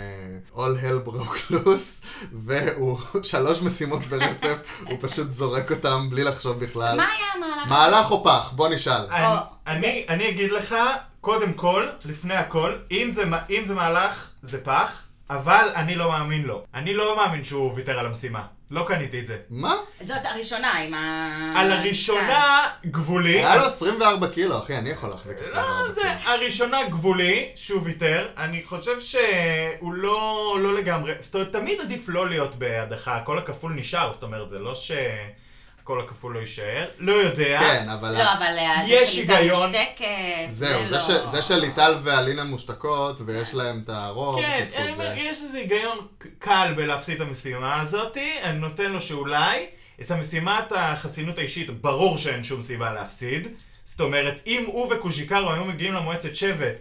A: All Hell Broke Loose, והוא שלוש משימות ברצף, הוא פשוט זורק אותם בלי לחשוב בכלל.
C: מה היה המהלך?
A: מהלך או פח? בוא נשאל.
B: אני-
C: או,
B: אני אני אגיד לך, קודם כל, לפני הכל, אם זה מה- אם זה מהלך, זה פח, אבל אני לא מאמין לו. אני לא מאמין שהוא ויתר על המשימה. לא קניתי את זה.
A: מה?
C: זאת הראשונה עם ה...
B: על הראשונה גבולי.
A: היה לו 24 קילו, אחי, אני יכול להחזיק 24
B: אה, לא,
A: קילו.
B: זה הראשונה גבולי, שהוא ויתר. אני חושב שהוא לא, לא לגמרי, זאת אומרת, תמיד עדיף לא להיות בהדחה, הקול הכפול נשאר, זאת אומרת, זה לא שהקול הכפול לא יישאר. לא יודע.
A: כן, אבל...
C: לא, אבל אה, זה
B: יש
C: שליטה
B: היגיון.
C: מושתקת.
A: זהו, זה
C: לא-
A: ש- זה שליטל ואלינה מושתקות, ויש להם את הרוב,
B: כן,
A: בזכות
B: אני אומר,
A: זה.
B: יש איזה היגיון ק- קל בלהפסיד את המשימה הזאתי, אני נותן לו שאולי את המשימת החסינות האישית, ברור שאין שום סיבה להפסיד. זאת אומרת, אם הוא וקוז'יקרו היו מגיעים למועצת שבט,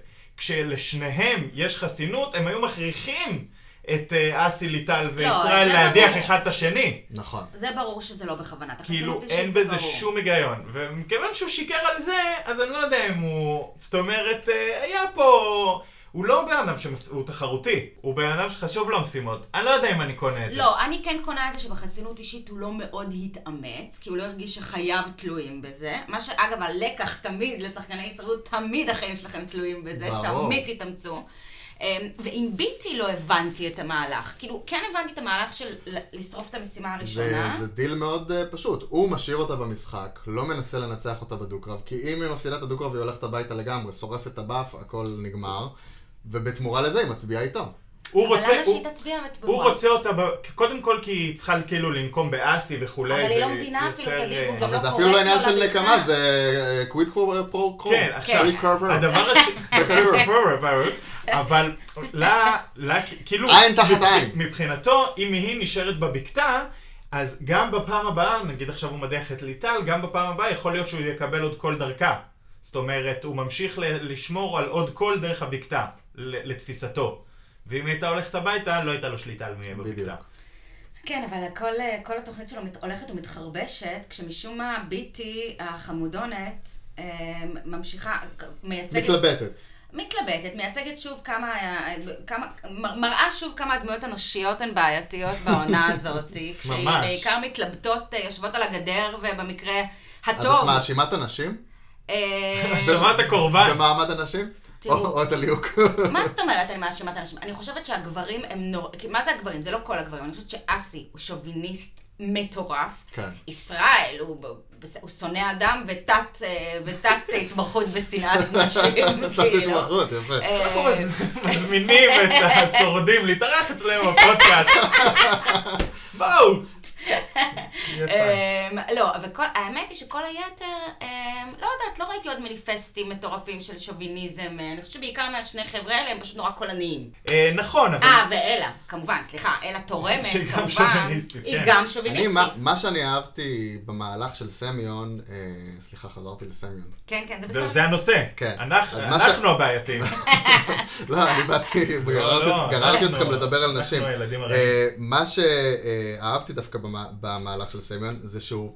B: כשלשניהם יש חסינות, הם היו מכריחים את אה, אסי ליטל וישראל
C: לא, זה
B: להדיח
C: ברור.
B: אחד את השני.
A: נכון.
C: זה ברור שזה לא בכוונת החסינות.
B: כאילו,
C: אישית,
B: אין
C: זה
B: בזה
C: ברור.
B: שום היגיון. ומכיוון שהוא שיקר על זה, אז אני לא יודע אם הוא... זאת אומרת, אה, היה פה... הוא לא בן אדם שהוא תחרותי, הוא בן אדם שחשוב לו המשימות. אני לא יודע אם אני קונה את זה.
C: לא, אני כן קונה את זה שבחסינות אישית הוא לא מאוד התאמץ, כי הוא לא הרגיש שחייו תלויים בזה. מה שאגב, הלקח תמיד לשחקני הישרדות, תמיד החיים שלכם תלויים בזה,
A: ברור.
C: תמיד תתאמצו. אמ, ועם ביטי לא הבנתי את המהלך. כאילו, כן הבנתי את המהלך של ל- לשרוף את המשימה
A: זה,
C: הראשונה.
A: זה דיל מאוד אה, פשוט. הוא משאיר אותה במשחק, לא מנסה לנצח אותה בדו-קרב, כי אם היא מפסידה את הדו-קרב היא הולכת הביתה לגמרי, שורפת את הבאף, הכל נגמר, ובתמורה לזה היא מצביעה איתו.
B: הוא
C: אבל
B: רוצה...
C: למה
B: הוא-
C: שהיא תצביע בתמורה?
B: הוא רוצה אותה, ב... קודם כל כי היא צריכה כאילו לנקום באסי וכולי.
C: אבל היא לא
B: והיא
C: מבינה אפילו,
B: יותר,
C: תגיד, הוא
B: אה,
C: גם
A: אבל
C: לא
A: זה
C: קורא
A: אפילו לא עניין
C: לו
A: של
C: לבטלה.
A: נקמה, זה אה, קוויד פרו קרו.
B: כן, עכשיו,
A: Quid pro quo.
B: הדבר השני, אבל לה, לה, כאילו,
A: עין תחת
B: מבח-
A: עין.
B: מבחינתו, אם היא נשארת בבקתה, אז גם בפעם הבאה, נגיד עכשיו הוא מדיח את ליטל, גם בפעם הבאה יכול להיות שהוא יקבל עוד קול דרכה. זאת אומרת, הוא ממשיך ל- לשמור על עוד קול דרך הבקתה, ל- לתפיסתו. ואם היא הייתה הולכת הביתה, לא הייתה לו שליטה על מי יהיה בבקתה.
A: בדיוק.
C: כן, אבל הכל, אה, כל התוכנית שלו מת- הולכת ומתחרבשת, כשמשום מה ביטי החמודונת אה, ממשיכה, מייצגת...
A: מתלבטת.
C: מתלבטת, מייצגת שוב כמה, אה, כמה מר- מראה שוב כמה הדמויות הנשיות הן בעייתיות בעונה הזאת. כשהיא
B: ממש.
C: בעיקר מתלבטות, אה, יושבות על הגדר, ובמקרה
A: אז את
C: הטוב...
A: מאשימה את הנשים?
C: אה,
B: האשמת הקורבן.
A: במעמד הנשים?
C: תראו. כאילו.
A: או או את הליהוק.
C: מה זאת אומרת אני מאשימה את האנשים? אני חושבת שהגברים הם נורא... כי מה זה הגברים? זה לא כל הגברים. אני חושבת שאסי הוא שוביניסט מטורף.
A: כן.
C: ישראל הוא, ב- בס- הוא שונא אדם ותת, אה, ותת התמחות בשנאת נשים,
A: קצת
C: כאילו.
A: התמחות, יפה.
C: אה,
B: אנחנו מז- מזמינים את השורדים להתארח אצלנו בפודקאסט. בואו! יפה.
C: אמ, לא, אבל כל- האמת היא שכל היתר, אמ, לא יודעת, לא ראיתי עוד מניפסטים מטורפים של שוביניזם. אה, אני חושבת שבעיקר מהשני חבר'ה האלה הם פשוט נורא קולניים.
B: אה, נכון, אבל...
C: אה, ואלה, כמובן, סליחה, אלה תורמת,
B: שהיא גם
C: כמובן.
B: שוביניסטית,
C: היא
B: כן.
C: גם
A: אני,
C: שוביניסטית.
A: מה- מה שאני אהבתי במהלך של סמיון, אה, סליחה, חזרתי לסמיון.
C: כן, כן, זה
B: זה-
C: בסדר.
B: זה הנושא.
A: כן.
B: אנחנו
A: אז מה ש-
B: אנחנו הבעייתיים.
A: לא, אני באתי, גררתי-
B: לא,
A: גררתי
B: אנחנו-
A: אתכם לדבר על
B: אנחנו
A: נשים.
B: הילדים
A: אה,
B: הרעים.
A: מה שאהבתי דווקא במה- במהלך של סמיון, זה שהוא...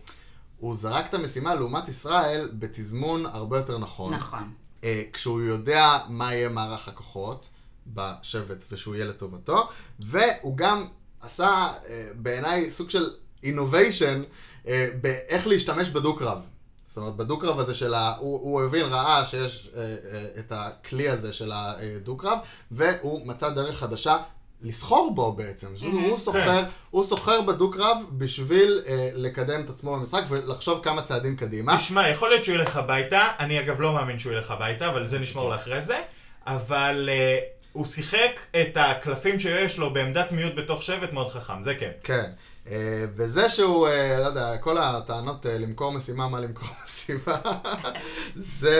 A: הוא זרק את המשימה לעומת ישראל בתזמון הרבה יותר נכון.
C: נכון.
A: אה, כשהוא יודע מה יהיה מערך הכוחות בשבט ושהוא יהיה לטובתו, והוא גם עשה אה, בעיניי סוג של אינוביישן אה, באיך להשתמש בדו-קרב. זאת אומרת, בדו-קרב הזה של ה... הוא, הוא הבין, ראה שיש אה, אה, את הכלי הזה של הדו-קרב, והוא מצא דרך חדשה. לסחור בו בעצם, mm-hmm. הוא סוחר,
B: כן.
A: הוא סוחר בדו-קרב בשביל אה, לקדם את עצמו במשחק ולחשוב כמה צעדים קדימה.
B: תשמע, יכול להיות שהוא ילך הביתה, אני אגב לא מאמין שהוא ילך הביתה, אבל זה נשמור לאחרי זה, אבל אה, הוא שיחק את הקלפים שיש לו בעמדת מיעוט בתוך שבט מאוד חכם, זה כן.
A: כן. אה, וזה שהוא, אה, לא יודע, כל הטענות אה, למכור משימה, מה למכור משימה, זה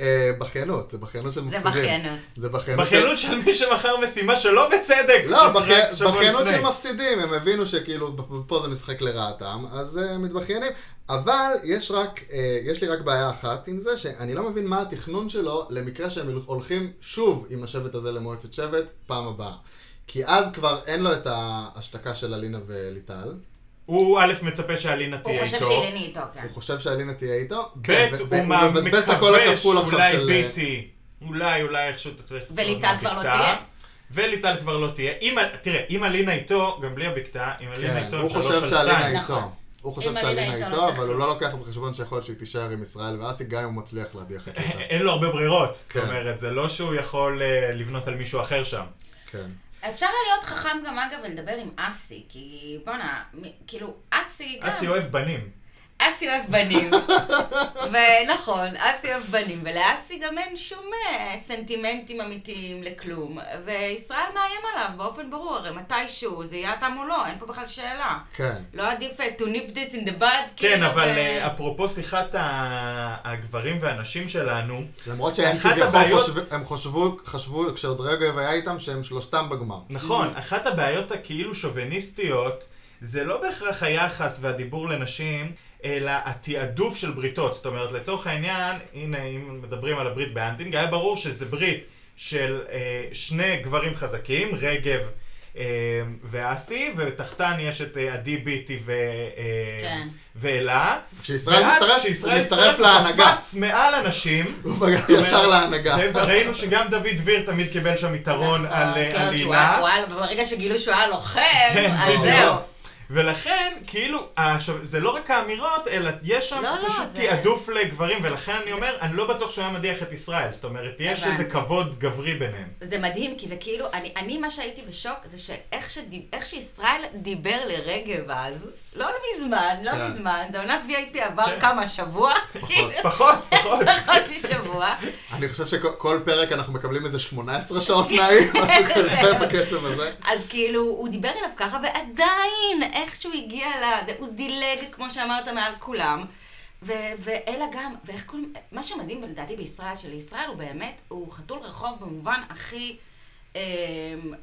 A: אה, בכיינות, זה בכיינות של מפסידים.
C: בכיינות.
A: זה בכיינות. של-
B: בכיינות של מי שמכר משימה שלא בצדק.
A: לא,
B: רק
A: בכי-
B: שבוע
A: בכיינות
B: לפני.
A: של מפסידים, הם הבינו שכאילו פה זה משחק לרעתם, אז אה, הם מתבכיינים. אבל יש רק, אה, יש לי רק בעיה אחת עם זה, שאני לא מבין מה התכנון שלו למקרה שהם הולכים שוב עם השבט הזה למועצת שבט, פעם הבאה. כי אז כבר אין לו את ההשתקה של אלינה וליטל.
B: הוא א' מצפה שאלינה
C: הוא
B: תהיה
C: חושב
B: איתו.
C: שאילני איתו, כן.
A: הוא חושב שאלינה תהיה איתו, כן,
B: ב'
A: ו-
B: הוא
A: והוא
B: מה-
A: מבזבז את הקול
B: מקווה
A: הכפול עכשיו
B: שאולי
A: של... אה,
B: ביטי, אולי, אולי איכשהו תצליח... לצאת
C: וליטל כבר לא
B: מהבקתה.
C: תהיה?
B: וליטל כבר לא תהיה. אם ה- תראה, אם אלינה איתו, גם בלי הבקתה, אם אלינה
A: כן,
B: איתו,
A: הוא
B: הם שלוש
A: חושב
B: על
A: שאלינה
B: שתיים.
A: איתו.
C: נכון.
A: הוא חושב
C: אם אלינה
A: שאלינה
C: איתו,
A: איתו,
C: לא צריך
A: אבל הוא
C: כלום.
A: לא לוקח בחשבון שיכול להיות שהיא תישאר עם ישראל ואסי, גם אם הוא מצליח להדיח את זה.
B: אין לו הרבה ברירות, זאת
A: כן.
B: אומרת, זה לא שהוא יכול אה, לבנות על מישהו אחר שם.
A: כן.
C: אפשר היה להיות חכם גם, אגב, ולדבר עם אסי, כי בואנה, מ- כאילו, אסי גם...
B: אסי אוהב בנים.
C: אסי אוהב בנים. ונכון, אסי אוהב בנים, ולאסי גם אין שום אה, סנטימנטים אמיתיים לכלום. וישראל מאיים עליו באופן ברור, הרי מתישהו זה יהיה אתה מולו, אין פה בכלל שאלה.
A: כן.
C: לא עדיף אה, to nip this in the bud,
B: כן,
C: כאילו,
B: אבל
C: ו-
B: אה, אפרופו שיחת ה- הגברים והנשים שלנו,
A: למרות שהם
B: אחת
A: כביכול
B: הבעיות-
A: חושבים- הם חשבו, חשבו, כשעוד רגב היה איתם, שהם שלושתם בגמר.
B: נכון,
C: כאילו-
B: אחת הבעיות הכאילו שוביניסטיות, זה לא בהכרח היחס והדיבור לנשים, אלא התעדוף של בריתות. זאת אומרת, לצורך העניין, הנה, אם מדברים על הברית באנטינג, היה ברור שזה ברית של אה, שני גברים חזקים, רגב אה, ואסי, ותחתן יש את אה, עדי ביטי ו, אה,
C: כן.
B: ואלה.
A: כשישראל מצטרף, הוא מצטרף
B: הוא
A: להנהגה.
B: קפץ מעל אנשים.
A: הוא מגיע ישר להנהגה.
B: זה, וראינו שגם דוד דביר תמיד קיבל שם יתרון
C: נכון,
B: על אה,
C: כן,
B: על
C: כי הוא
B: הילה.
C: היה- הוא היה- ברגע שגילו שהוא היה לוחם,
B: כן,
C: אז
B: בדיוק.
C: זהו.
B: ולכן, כאילו, עכשיו, זה לא רק האמירות, אלא יש שם
C: לא, לא,
B: פשוט
C: זה-
B: תעדוף לגברים, ולכן אני אומר, אני לא בטוח שהוא היה מדיח את ישראל. זאת אומרת, יש
C: הבנתי.
B: איזה כבוד גברי ביניהם.
C: זה מדהים, כי זה כאילו, אני, אני מה שהייתי בשוק, זה שאיך שדיב, איך שישראל דיבר לרגב אז, לא מזמן, לא
A: כן.
C: מזמן, זה עונת VIP עבר
B: כן.
C: כמה, שבוע? כאילו,
B: פחות, פחות.
C: פחות משבוע.
A: אני חושב שכל פרק אנחנו מקבלים איזה 18 שעות נעים, משהו כזה בקצב הזה.
C: אז כאילו, הוא דיבר אליו ככה, ועדיין, איכשהו הגיע ל... זה- הוא דילג, כמו שאמרת, מעל כולם. ו- ואלה גם, ואיך קוראים... מה שמדהים לדעתי בישראל, שלישראל הוא באמת, הוא חתול רחוב במובן הכי... אמ,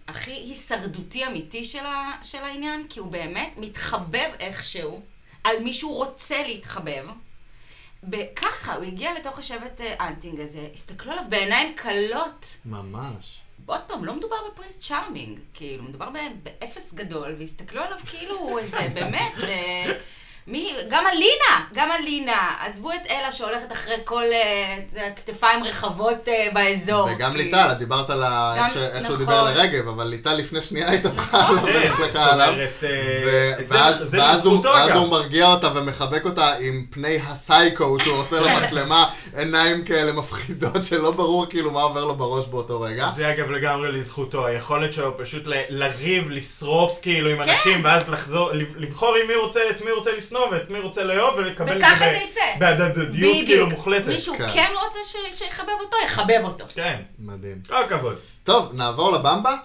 C: הכי הישרדותי אמיתי של, ה, של העניין, כי הוא באמת מתחבב איכשהו על מי שהוא רוצה להתחבב. וככה, הוא הגיע לתוך השבט אה, אנטינג הזה, הסתכלו עליו בעיניים כלות.
A: ממש.
C: עוד פעם, לא מדובר בפרינס צ'ארמינג, כאילו, מדובר ב- באפס גדול, והסתכלו עליו כאילו הוא איזה, באמת, ב- מי, גם אלינה, גם אלינה, עזבו את אלה שהולכת אחרי כל אה, את יודעת, כתפיים רחבות אה, באזור.
A: וגם
C: כאילו.
A: ליטל, את דיברת על ה-
C: גם-
A: איך ש- איך שהוא
C: נכון.
A: דיבר על הרגב, אבל ליטל לפני שנייה הייתה
C: נכון.
A: בכלל
B: כן, זאת
A: נחלקה עליו.
B: אומרת, אה,
A: ו-
B: זה-
A: ואז
B: זה
A: ואז הוא-
B: בזכותו
A: ואז
B: אגב.
A: הוא מרגיע אותה ומחבק אותה עם פני הסייקו שהוא עושה למצלמה, עיניים כאלה מפחידות שלא ברור כאילו מה עובר לו בראש באותו רגע.
B: זה אגב לגמרי לזכותו, היכולת שלו פשוט ל- לריב, לשרוף כאילו עם
C: כן.
B: אנשים, ואז לחזור, לב- לבחור עם מי הוא רוצה, את מי הוא רוצה לשנוא ואת מי הוא רוצה לאהוב, ולקבל
C: וככה
B: ב-
C: זה יצא.
B: בהדדיות כאילו מוחלטת.
C: מישהו
A: כן.
C: כן רוצה ש- שיחבב אותו, יחבב אותו.
B: כן,
A: מדהים.
B: כל הכבוד.
A: טוב, נעבור לבמבה?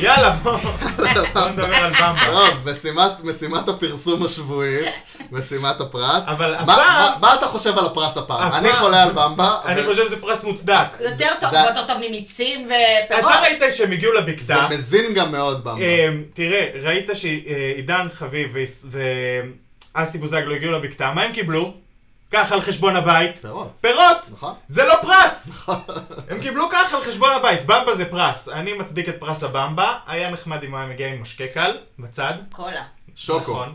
B: יאללה, בוא בוא נדבר על במבה.
A: טוב, משימת- משימת הפרסום השבועית, משימת הפרס.
B: אבל
A: מה-
B: הפעם-
A: מה- מה אתה חושב על הפרס הפעם?
B: הפעם-
A: אני חולה על במבה.
B: אני
A: ו-
B: חושב שזה פרס מוצדק.
C: יותר טוב,
A: זה-
C: יותר טוב ממיצים ופירות.
B: אתה ראית שהם הגיעו
A: זה
B: לבקתה.
A: מזין גם מאוד במבה.
B: אמ, תראה, ראית שעידן חביב ואיס- ואסי בוזגלו הגיעו לבקתה, מה הם קיבלו? ככה על חשבון הבית.
A: פירות,
B: פירות!
A: נכון?
B: זה לא פרס! הם קיבלו ככה על חשבון הבית, במבה זה פרס. אני מצדיק את פרס הבמבה, היה נחמד אם הוא היה מגיע עם משקה קל, בצד.
C: קולה.
A: שוקו.
B: נכון.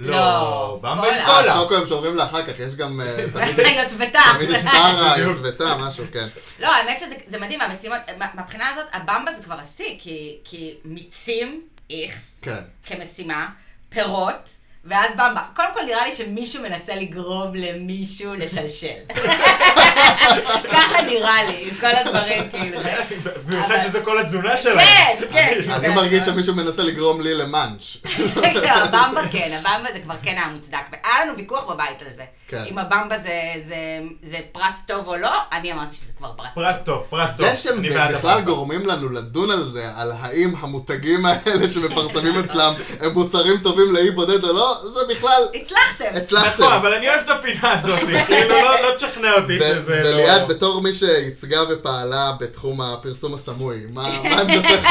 C: לא,
B: לא, במבה עם
A: אה,
B: קולה.
A: שוקו הם שומרים לאחר כך, יש גם... אה, תמיד-
C: יוטבתה.
A: תמיד יש טרה,
B: בדיוק.
A: יוטבתה, משהו, כן.
C: לא, האמת שזה זה מדהים, המשימות, מה- מהבחינה הזאת, הבמבה זה כבר השיא, כי- כי מיצים, איכס,
A: כן.
C: כמשימה, פירות, ואז במבה. קודם כל נראה לי שמישהו מנסה לגרום למישהו לשלשל. ככה נראה לי, עם כל הדברים כאילו. זה.
B: במיוחד
C: אבל-
B: שזה כל התזונה שלהם.
C: כן, כן.
A: אני
C: זה-
A: מרגיש שמישהו מנסה לגרום לי למאנץ'.
C: כן, הבמבה כן, הבמבה זה כבר כן היה מוצדק. והיה לנו ויכוח בבית על זה.
A: כן.
C: אם הבמבה זה- זה- זה פרס טוב או לא, אני אמרתי שזה כבר פרס טוב.
B: פרס טוב, פרס טוב.
A: זה שהם
B: אני בעד
A: בכלל
B: הבמבה.
A: גורמים לנו לדון על זה, על האם המותגים האלה שמפרסמים אצלם הם מוצרים טובים לאי בודד או לא, זה בכלל,
C: הצלחתם.
A: הצלחתם.
B: נכון, אבל אני אוהב את הפינה הזאת, כאילו לא לא תשכנע אותי
A: ו-
B: שזה לא...
A: וליעד, בתור מי שייצגה ופעלה בתחום הפרסום הסמוי, מה מה עמדתך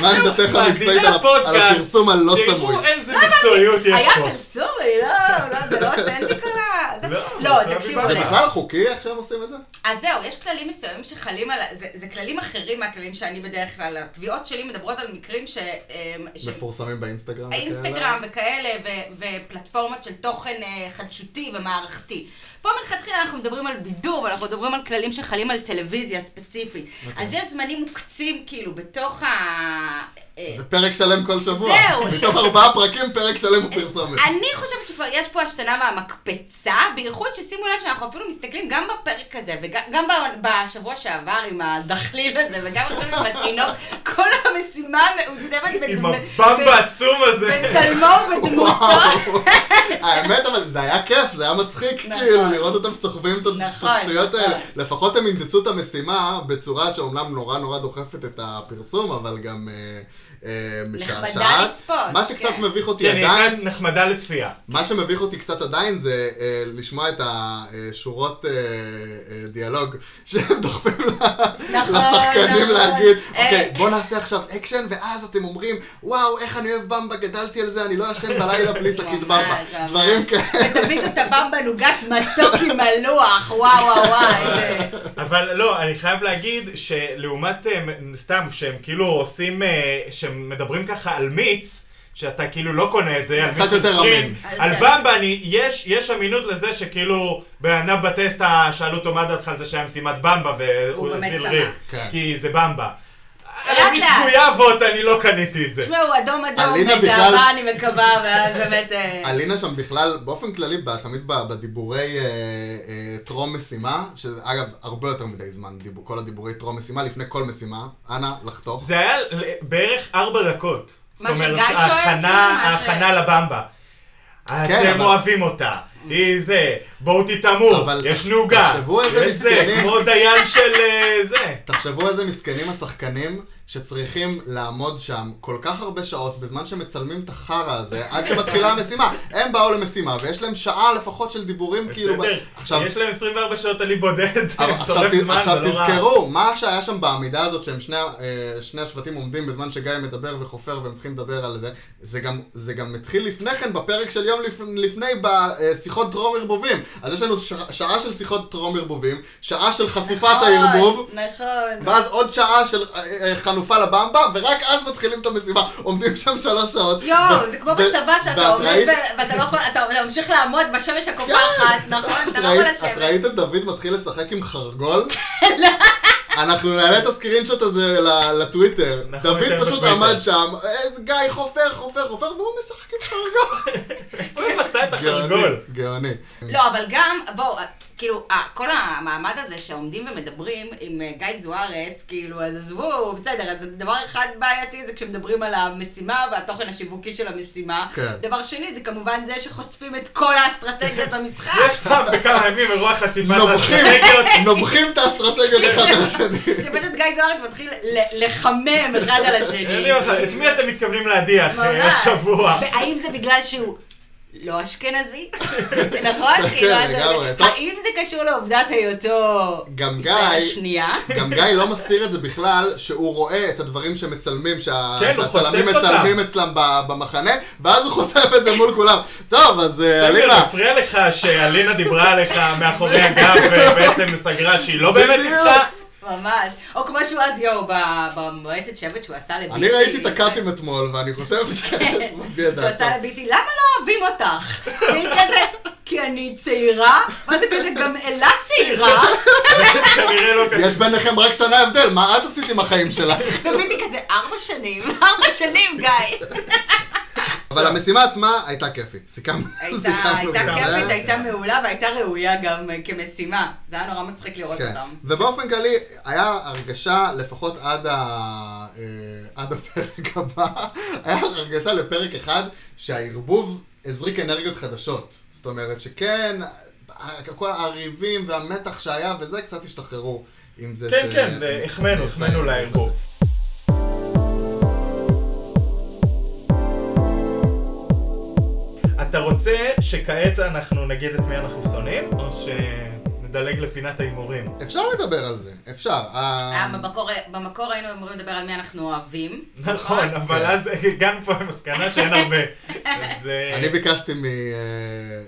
A: מה עמדתך
B: מאזיני
A: המקצועית על הפ- על
B: הפודקאסט,
A: הפרסום הלא לא סמוי?
B: תראו איזה מקצועיות יש
C: היה
B: פה.
C: פרסום, אני לא, לא, זה לא אותנטי כל ה... זה-
B: לא, זה
C: לא, תקשיבו,
B: הביבה.
A: זה
C: זה-
A: בכלל חוקי איך שהם עושים את זה?
C: אז זהו, יש כללים מסוימים שחלים על... ה- זה- זה כללים אחרים מהכללים שאני בדרך כלל... התביעות שלי מדברות על מקרים ש... אמ, ש-
A: מפורסמים באינסטגרם. וכאלה?
C: האינסטגרם וכאלה, ו- ופלטפורמות של תוכן אה, חדשותי ומערכתי. פה מלכתחילה אנחנו מדברים על בידור, ואנחנו מדברים על כללים שחלים על טלוויזיה ספציפית.
A: נכון.
C: אז יש זמנים מוקצים, כאילו, בתוך ה... אה,
A: זה פרק שלם כל שבוע.
C: זהו.
A: מתוך ארבעה פרקים, פרק שלם הוא פרסומת.
C: אני חושבת שכבר יש פה השתנה מהמקפצה, בייחוד ששימו לב שאנחנו אפילו מסתכלים גם בפרק הזה, וגם ב- בשבוע שעבר עם הדחליל הזה, וגם עכשיו עם התינוק, כל המשימה המעוצבת
B: עם
C: בדמ-
B: הבמבה העצום הזה.
C: בצלמו ובדמותו.
A: וואו. האמת, אבל זה היה כיף, זה היה מצחיק,
C: נכון.
A: כאילו, לראות אותם סוחבים את הש-
C: נכון,
A: השטויות האלה.
C: נכון.
A: לפחות הם הנדסו את המשימה בצורה שאומנם נורא נורא דוחפת את הפרסום, אבל גם אה, אה, משעשעת.
C: לצפות,
A: מה שקצת
C: כן.
A: מביך אותי
B: כן, היא
A: עדיין,
B: הייתה נחמדה לצפייה.
A: מה שמביך אותי קצת עדיין זה אה, לשמוע את השורות אה, אה, דיאלוג שהם דוחפים ל-
C: נכון,
A: לשחקנים
C: נכון.
A: להגיד,
C: אה.
A: אוקיי, בוא נעשה עכשיו אקשן, ואז אתם אומרים, וואו, איך אני אוהב במבה, גדלתי על זה, אני לא ישן בלילה בלי שקית
C: ממש,
A: במבה.
C: ממש.
A: דברים כאלה.
C: ותבינו את הבמבה נוגת מתוק עם הלוח, וואו וואו וואו. איזה-
B: אבל לא, אני חייב להגיד שלעומת, אה, סתם, שהם כאילו עושים, אה, שהם מדברים ככה על מיץ, שאתה כאילו לא קונה את זה, על
A: קצת
B: מיץ
A: יותר
B: וספרינג.
A: אמין.
B: על
C: כן.
B: במבה, אני, יש, יש אמינות לזה שכאילו, בן אדם בטסט, אה, שאלו אותו מה דעתך על זה שהיה משימת במבה, והוא
C: הוא באמת
B: הסביר
C: שמח.
B: ריב,
A: כן.
B: כי זה במבה. על
C: לאט
B: המיץ
C: לאט.
B: גויאבות, אני לא קניתי את זה.
C: תשמעו, אדום אדום,
A: אלינה
C: איזה
A: בכלל-
C: אהבה אני מקווה, ואז באמת... אה,
A: אלינה שם בכלל, באופן כללי, ב- תמיד ב- בדיבורי אה, אה, טרום משימה, שזה אגב, הרבה יותר מדי זמן, דיבור- כל הדיבורי טרום משימה, לפני כל משימה, אנא, לחתוך.
B: זה היה ל- בערך ארבע דקות. זאת
C: מה
B: אומרת,
C: שגיא שואל, כאילו,
B: ההכנה,
C: מה ש-
B: ההכנה לבמבה.
A: כן,
B: אתם
A: אבל-
B: אוהבים אותה. היא זה, בואו תטעמו,
A: אבל
B: יש נוגה.
A: תחשבו איזה
B: יש זה,
A: מסכנים.
B: כמו דייל של אה, זה.
A: תחשבו איזה מסכנים השחקנים שצריכים לעמוד שם כל כך הרבה שעות בזמן שמצלמים את החרא הזה, עד שמתחילה המשימה. הם באו למשימה, ויש להם שעה לפחות של דיבורים כאילו... ב-
B: בסדר,
A: עכשיו,
B: יש להם 24 שעות אני בודד,
A: אבל עכשיו,
B: שורף
A: ת-
B: זמן,
A: עכשיו
B: זה לא רע.
A: תזכרו, מה שהיה שם בעמידה הזאת, שהם שני, ה- אה, שני השבטים עומדים בזמן שגיא מדבר וחופר והם צריכים לדבר על זה, זה גם, זה גם התחיל לפני כן בפרק של יום לפ, לפני בשיחות טרום ערבובים. אז יש לנו ש, שעה של שיחות טרום ערבובים, שעה של חשיפת הערבוב.
C: נכון.
A: ואז עוד שעה של אה, אה, חנופה לבמבה, ורק אז מתחילים את המשימה. עומדים שם שלוש שעות.
C: יואו, לא, זה כמו
A: ו-
C: בצבא שאתה
A: ואת
C: עומד
A: ראית- כן.
C: ו- ואתה לא יכול, אתה אתה ממשיך לעמוד בשמש הקופחת, נכון?
A: את
C: אתה לא יכול
A: ראית- את
C: לשבת. לא.
A: ראית את דוד מתחיל לשחק עם חרגול? אנחנו נעלה את הסקרינשוט הזה ל- לטוויטר.
B: אנחנו ניתן
A: דוד פשוט
B: נכון, בטוויטר.
A: עמד שם, איזה גיא חופר, חופר, חופר, והוא משחק עם חרגול.
B: הוא מצא את החרגול.
A: גאוני, גאוני.
C: לא, אבל גם, בואו, כאילו, אה, כל המעמד הזה שעומדים ומדברים עם אה, גיא זוארץ, כאילו, אז עזבו, בסדר, אז דבר אחד בעייתי זה כשמדברים על המשימה והתוכן השיווקי של המשימה.
A: כן.
C: דבר שני זה כמובן זה שחושפים את כל האסטרטגיות במשחק.
B: יש פעם בכמה ימים אירוע חשיפת
A: נובחים,
B: האסטרטגיות.
A: נובחים את האסטרטגיות
C: כן.
A: אחד על השני.
C: שפשוט גיא זוארץ מתחיל ל- לחמם אחד על השני.
B: אני אומר לך, את מי אתם מתכוונים להדיח אה,
C: ממש.
B: השבוע?
C: והאם זה בגלל שהוא לא אשכנזי? נכון?
A: כן,
C: כאילו, אז-
A: לגמרי. טוב.
C: האם זה קשור לעובדת היותו
A: גם
C: ישראל
A: גיא-
C: השנייה?
A: גם גיא לא מסתיר את זה בכלל, שהוא רואה את הדברים שמצלמים, שה-
B: כן, הוא
A: שהצלמים
B: חושף אותם.
A: מצלמים אצלם ב- במחנה, ואז הוא חושף את זה מול כולם. טוב, אז אה,
B: סגל,
A: עלילה.
B: מפריע לך שאלינה דיברה עליך מאחורי הגב ובעצם סגרה שהיא לא באמת
A: בדיוק.
B: איתך?
C: ממש. או כמו שהוא אז, יואו, ב- במועצת שבט שהוא עשה לביטי.
A: אני ראיתי את הקאטים אתמול, ואני חושב ש... מביע את
C: שהוא
A: דעתו.
C: עשה לביטי, למה לא אוהבים אותך? והיא כזה, כי אני צעירה? מה זה כזה, גם אלה צעירה?
B: כנראה לא
A: יש
B: קשור.
A: ביניכם רק שנה הבדל, מה את עשית עם החיים שלך?
C: וביטי כזה, ארבע שנים, ארבע שנים, גיא.
A: אבל המשימה עצמה הייתה כיפית, סיכמנו.
C: הייתה
A: סיכמנו
C: הייתה
A: את אה, זה.
C: כיפית, הייתה מעולה והייתה ראויה גם אה, כמשימה. זה היה נורא מצחיק לראות
A: כן.
C: אותם.
A: ובאופן כללי, היה הרגשה, לפחות עד, ה... אה, עד הפרק הבא, היה הרגשה לפרק אחד שהערבוב הזריק אנרגיות חדשות. זאת אומרת שכן, ה- כל הריבים והמתח שהיה וזה, קצת השתחררו עם זה
B: כן,
A: ש...
B: כן, אה, החמאנו, החמאנו לערבוב. אתה רוצה שכעת אנחנו נגיד את מי אנחנו שונאים, או שנדלג לפינת ההימורים?
A: אפשר לדבר על זה, אפשר. אה, ה-
C: היה אה, במקור- במקור היינו אמורים לדבר על מי אנחנו אוהבים.
B: אה, נכון,
A: כן.
B: אבל אז הגענו פה למסקנה שאין הרבה. אז... אה,
A: אני ביקשתי מ- אה,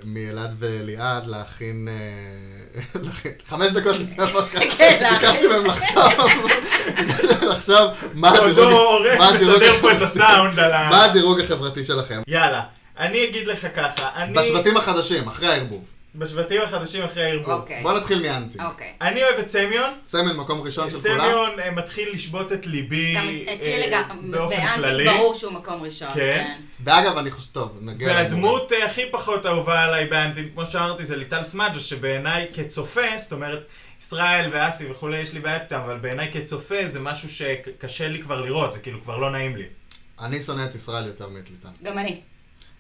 A: מאלעד וליעד להכין... אה, להכין- חמש דקות לפני הפודקאסט,
C: כן, להכין.
A: ביקשתי מהם לחשוב, לחשוב מה
B: דודו
A: הדירוג-
B: עורך
A: מה הדירוג
B: לא, מסדר פה את
A: החברתי-
B: הסאונד על ה...
A: מה הדירוג החברתי שלכם.
B: יאללה, אני אגיד לך ככה, אני...
A: בשבטים החדשים, אחרי הערבוב.
B: בשבטים החדשים אחרי הערבוב.
C: אוקיי.
A: בוא נתחיל מאנטי.
C: אוקיי.
B: אני אוהב את סמיון.
A: סמל מקום ראשון של כולם.
B: סמיון אה, מתחיל לשבות את ליבי
C: גם
B: אה,
C: אצלי לגמרי,
B: באופן
C: באנטי
B: כללי.
C: ברור שהוא מקום ראשון.
B: כן.
C: כן.
A: ואגב, אני חושב, טוב, נגיע...
B: והדמות
A: כן,
B: אה, הכי פחות אהובה עליי באנטים, כמו שאמרתי, זה ליטל סמג'ה, שבעיניי כצופה, זאת אומרת, ישראל ואסי וכולי, יש לי בעיה איתם, אבל בעיניי כצופה זה משהו שקשה לי כבר לראות, זה כאילו כבר לא נעים לי.
A: אני שונא את ישראל יותר מאתליטן.
C: גם אני.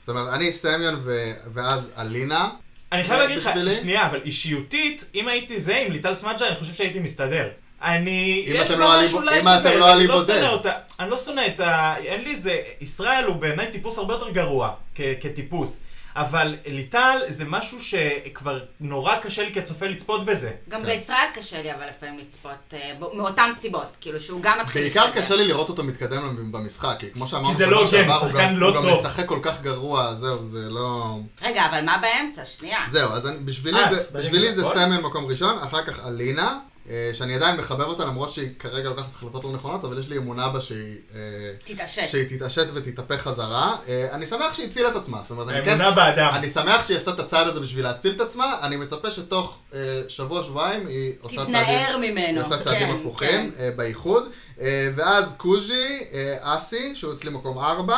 A: זאת אומרת, אני סמיון ו- ואז אלינה.
B: אני חייב להגיד לך,
A: בשבילי?
B: שנייה, אבל אישיותית, אם הייתי זה עם ליטל סמג'ה, אני חושב שהייתי מסתדר. אני...
A: אם
B: יש
A: אתם
B: בה
A: לא עלי-
B: משהו
A: אם
B: לייטבל,
A: אתם לא עלי
B: אני
A: בודד.
B: שונא אותה, אני לא שונא את ה... אין לי איזה... ישראל הוא בעיניי טיפוס הרבה יותר גרוע, כ- כטיפוס. אבל ליטל זה משהו שכבר נורא קשה לי כצופה לצפות בזה.
C: גם
A: כן.
C: בישראל קשה לי אבל לפעמים לצפות, אה, ב- מאותן סיבות, כאילו שהוא גם מתחיל
A: בעיקר
C: להשתגע.
A: קשה לי לראות אותו מתקדם במשחק, כי כמו שאמרנו,
B: כי זה לא
A: שבוע שעבר,
B: הוגן, הוא
A: הוא
B: שחקן
A: גם-
B: לא
A: הוא גם
B: טוב.
A: משחק כל כך גרוע, זהו, זה לא...
C: רגע, אבל מה באמצע? שנייה.
A: זהו, אז אני- בשבילי
B: אה,
A: זה-
B: צדדים
A: בשבילי זה
B: לכל?
A: סמל מקום ראשון, אחר כך אלינה, אה, שאני עדיין מחבב אותה, למרות שהיא כרגע לוקחת החלטות לא נכונות, אבל יש לי אמונה בה שהיא... אה,
C: תתעשת.
A: שהיא תתעשת ותתהפך חזרה. אה, אני שמח שהיא הצילה את עצמה, זאת אומרת, אני כן...
B: האמונה באדם.
A: אני שמח שהיא עשתה את הצעד הזה בשביל להציל את עצמה, אני מצפה שתוך אה, שבוע, שבועיים היא עושה צעדים...
C: תתנער ממנו.
A: היא עושה צעדים
C: כן,
A: הפוכים
C: כן.
A: אה, באיחוד. אה, ואז קוז'י, אה, אסי, שהוא אצלי מקום 4,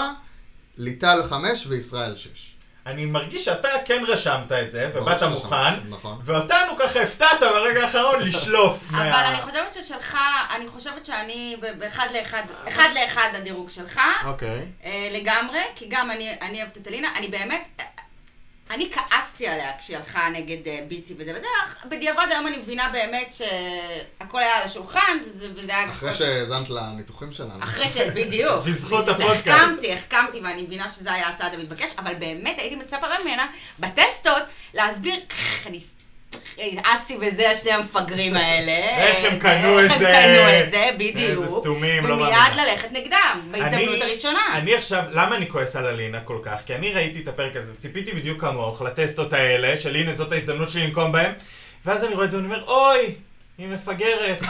A: ליטל 5 וישראל 6.
B: אני מרגיש שאתה כן רשמת את זה, ובאת מוכן,
A: נכון.
B: ואותנו ככה הפתעת ברגע האחרון לשלוף.
C: אבל
B: מה-
C: אני חושבת ששלך, אני חושבת שאני ב- באחד לאחד, אחד לאחד הדירוג שלך,
A: אוקיי.
C: אה, לגמרי, כי גם אני אני אוהבת את אלינה, אני באמת, אה, אני כעסתי עליה כשהיא הלכה נגד אה, ביטי וזה וזה, אך בדיעבד היום אני מבינה באמת שהכל היה על השולחן, וזה, וזה היה... נכון.
A: אחרי שהאזנת לניתוחים שלנו.
C: אחרי ש... בדיוק.
B: בזכות הפודקאסט.
C: החכמתי, החכמתי, ואני מבינה שזה היה הצעד המתבקש, אבל באמת הייתי מצפה ממנה בטסטות להסביר, "כח, אני... אה, אסי וזה, שני המפגרים האלה.
B: איך הם קנו את זה.
C: איך הם קנו את זה, בדיוק.
B: איזה סתומים, לא מאמינה.
C: ומיד ללכת נגדם, בהזדמנות
B: אני-
C: הראשונה.
B: אני עכשיו, למה אני כועס על אלינה כל כך? כי אני ראיתי את הפרק הזה, ציפיתי בדיוק כמוך לטסטות האלה, של הנה זאת ההזדמנות שלי לנקום בהם, ואז אני רואה את זה ואני אומר, אוי, היא מפגרת.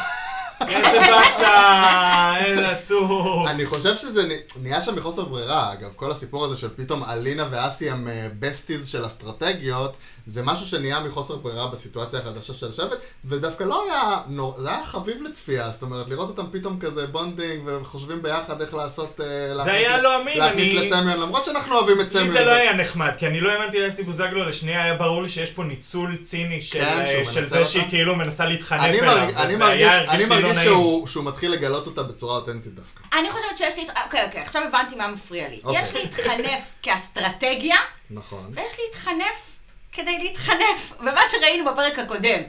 B: איזה באסה, איזה עצוב.
A: אני חושב שזה נ- נהיה שם מחוסר ברירה, אגב, כל הסיפור הזה של פתאום אלינה ואסי הם אה, בסטיז של אסטרטגיות, זה משהו שנהיה מחוסר ברירה בסיטואציה החדשה של שבט, ודווקא לא היה נור... זה היה חביב לצפייה, זאת אומרת, לראות אותם פתאום כזה בונדינג, וחושבים ביחד איך לעשות... אה, להכניס
B: היה
A: ל-
B: לא אמין,
A: להכניס
B: אני-
A: לסמיון, למרות שאנחנו אוהבים את סמיון.
B: לי זה לא היה נחמד, כי אני לא האמנתי לאסי בוזגלו לשנייה, היה ברור לי שיש פה ניצול ציני של,
A: כן, שהוא
B: של
A: מנצל
B: זה
A: אותה.
B: שהיא כאילו מנסה להתחנף
A: אני,
B: אליו.
A: מרג... אני
B: וזה
A: מרגיש,
B: היה- הרגיש
A: אני
B: לי לא
A: מרגיש
B: נעים.
A: שהוא, שהוא מתחיל לגלות אותה בצורה אותנטית דווקא.
C: אני חושבת שיש לי... אוקיי, אוקיי, עכשיו הבנתי מה מפריע לי.
A: אוקיי.
C: יש להתחנף כאסטרטגיה,
A: נכון.
C: ויש להתחנף כדי להתחנף. ומה שראינו בפרק הקודם,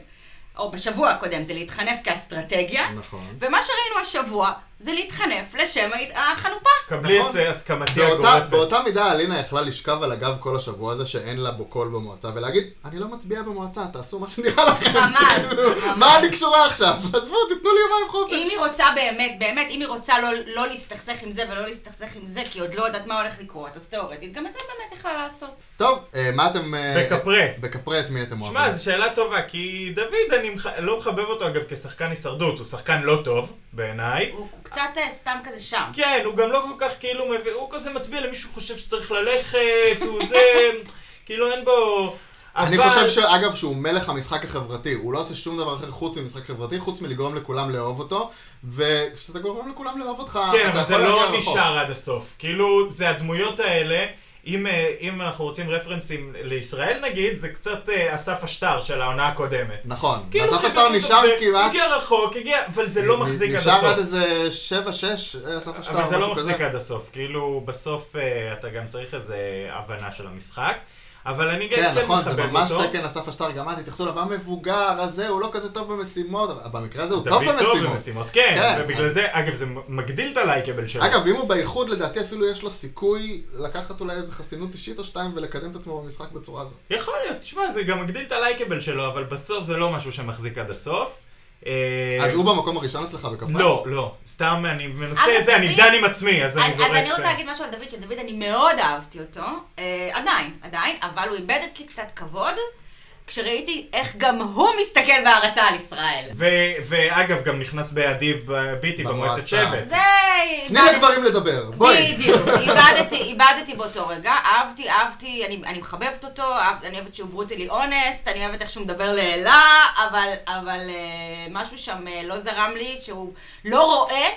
C: או בשבוע הקודם, זה להתחנף כאסטרטגיה.
A: נכון.
C: ומה שראינו השבוע, זה להתחנף לשם ההת- החנופה.
B: קבלי את
A: נכון.
B: אה, הסכמתי
A: באותה,
B: הגורפת.
A: באותה מידה אלינה יכלה לשכב על הגב כל השבוע הזה שאין לה בו קול במועצה ולהגיד, אני לא מצביעה במועצה, תעשו מה שנראה לכם.
C: ממש,
A: כאילו,
C: ממש.
A: מה אני קשורה עכשיו? עזבו, תיתנו לי יומיים
C: אם
A: חופש.
C: היא רוצה באמת, באמת, אם היא רוצה לא, לא להסתכסך עם זה ולא להסתכסך עם זה, כי עוד לא יודעת מה הולך לקרות, אז תיאורטית, גם את זה באמת יכלה לעשות.
A: טוב, אה, מה אתם... אה,
B: בקפרה.
A: בקפרה את מי אתם אוהבים?
B: שמע, זו שאלה טובה, כי דוד, אני מח- לא מחבב אותו אגב כשחקן הישרדות, הוא שחקן לא טוב, בעיניי.
C: הוא קצת אה, סתם כזה שם.
B: כן, הוא גם לא כל כך כאילו מביא, הוא כזה מצביע למי שהוא חושב שצריך ללכת, הוא זה, כאילו אין בו...
A: אני
B: אבל-
A: חושב שאגב שהוא מלך המשחק החברתי, הוא לא עושה שום דבר אחר חוץ ממשחק חברתי, חוץ מלגרום לכולם לאהוב אותו, וכשאתה גורם לכולם לאהוב אותך,
B: כן,
A: אתה
B: אבל זה
A: יכול
B: לא
A: להגיע רחוק.
B: נשאר עד הסוף. כאילו, זה הדמויות האלה, אם, אה, אם אנחנו רוצים רפרנסים לישראל נגיד, זה קצת אה, אסף השטר של העונה הקודמת.
A: נכון,
B: כאילו,
A: ואסף
B: זה-
A: אתר
B: זה-
A: נשאר
B: זה-
A: כמעט...
B: הגיע רחוק, הגיע, אבל זה לא
A: נ-
B: מחזיק עד
A: נשאר עד
B: הסוף.
A: איזה 7-6, אה, אסף השטר,
B: אבל זה לא
A: משהו כזה.
B: מחזיק עד הסוף, כאילו בסוף אה, אתה גם צריך איזה הבנה של המשחק. אבל אני גם
A: כן,
B: כן
A: נכון, זה
B: מחבב
A: ממש
B: אותו.
A: תקן אסף השטר, גם אז התייחסו אליו, המבוגר הזה, הוא לא כזה טוב במשימות, אבל במקרה הזה הוא
B: דוד
A: טוב
B: טוב
A: במשימות.
B: במשימות, כן,
A: כן,
B: ובגלל
A: אז-
B: זה, אגב, זה מגדיל את הלייקבל שלו.
A: אגב, אם הוא באיחוד, לדעתי אפילו יש לו סיכוי לקחת אולי איזה חסינות אישית או שתיים ולקדם את עצמו במשחק בצורה הזאת.
B: יכול להיות, תשמע, זה גם מגדיל את הלייקבל שלו, אבל בסוף זה לא משהו שמחזיק עד הסוף. אה,
A: אז הוא במקום הראשון אצלך בכפיים?
B: לא, לא, סתם אני מנסה
C: אגב,
B: את זה, אני
C: דוד-
B: דן עם עצמי, אז אני
C: אז,
B: זורק.
C: אז אני רוצה להגיד משהו על דוד, שדוד אני מאוד אהבתי אותו, אה, עדיין, עדיין, אבל הוא איבד אצלי קצת כבוד, כשראיתי איך גם הוא מסתכל בהערצה על ישראל.
B: ו- ואגב, גם נכנס בידי ב- ביטי במועצת
A: במועצה.
B: שבט.
C: זה...
A: תני
C: איבדתי-
A: לגברים לדבר, בואי.
C: בדיוק, איבדתי, איבדתי באותו רגע, אהבתי, אהבתי, אני, אני מחבבת אותו, אהב, אני אוהבת שהוא ברוטלי אונסט, אני אוהבת איך שהוא מדבר לאלה, אבל, אבל אה, משהו שם אה, לא זרם לי, שהוא לא רואה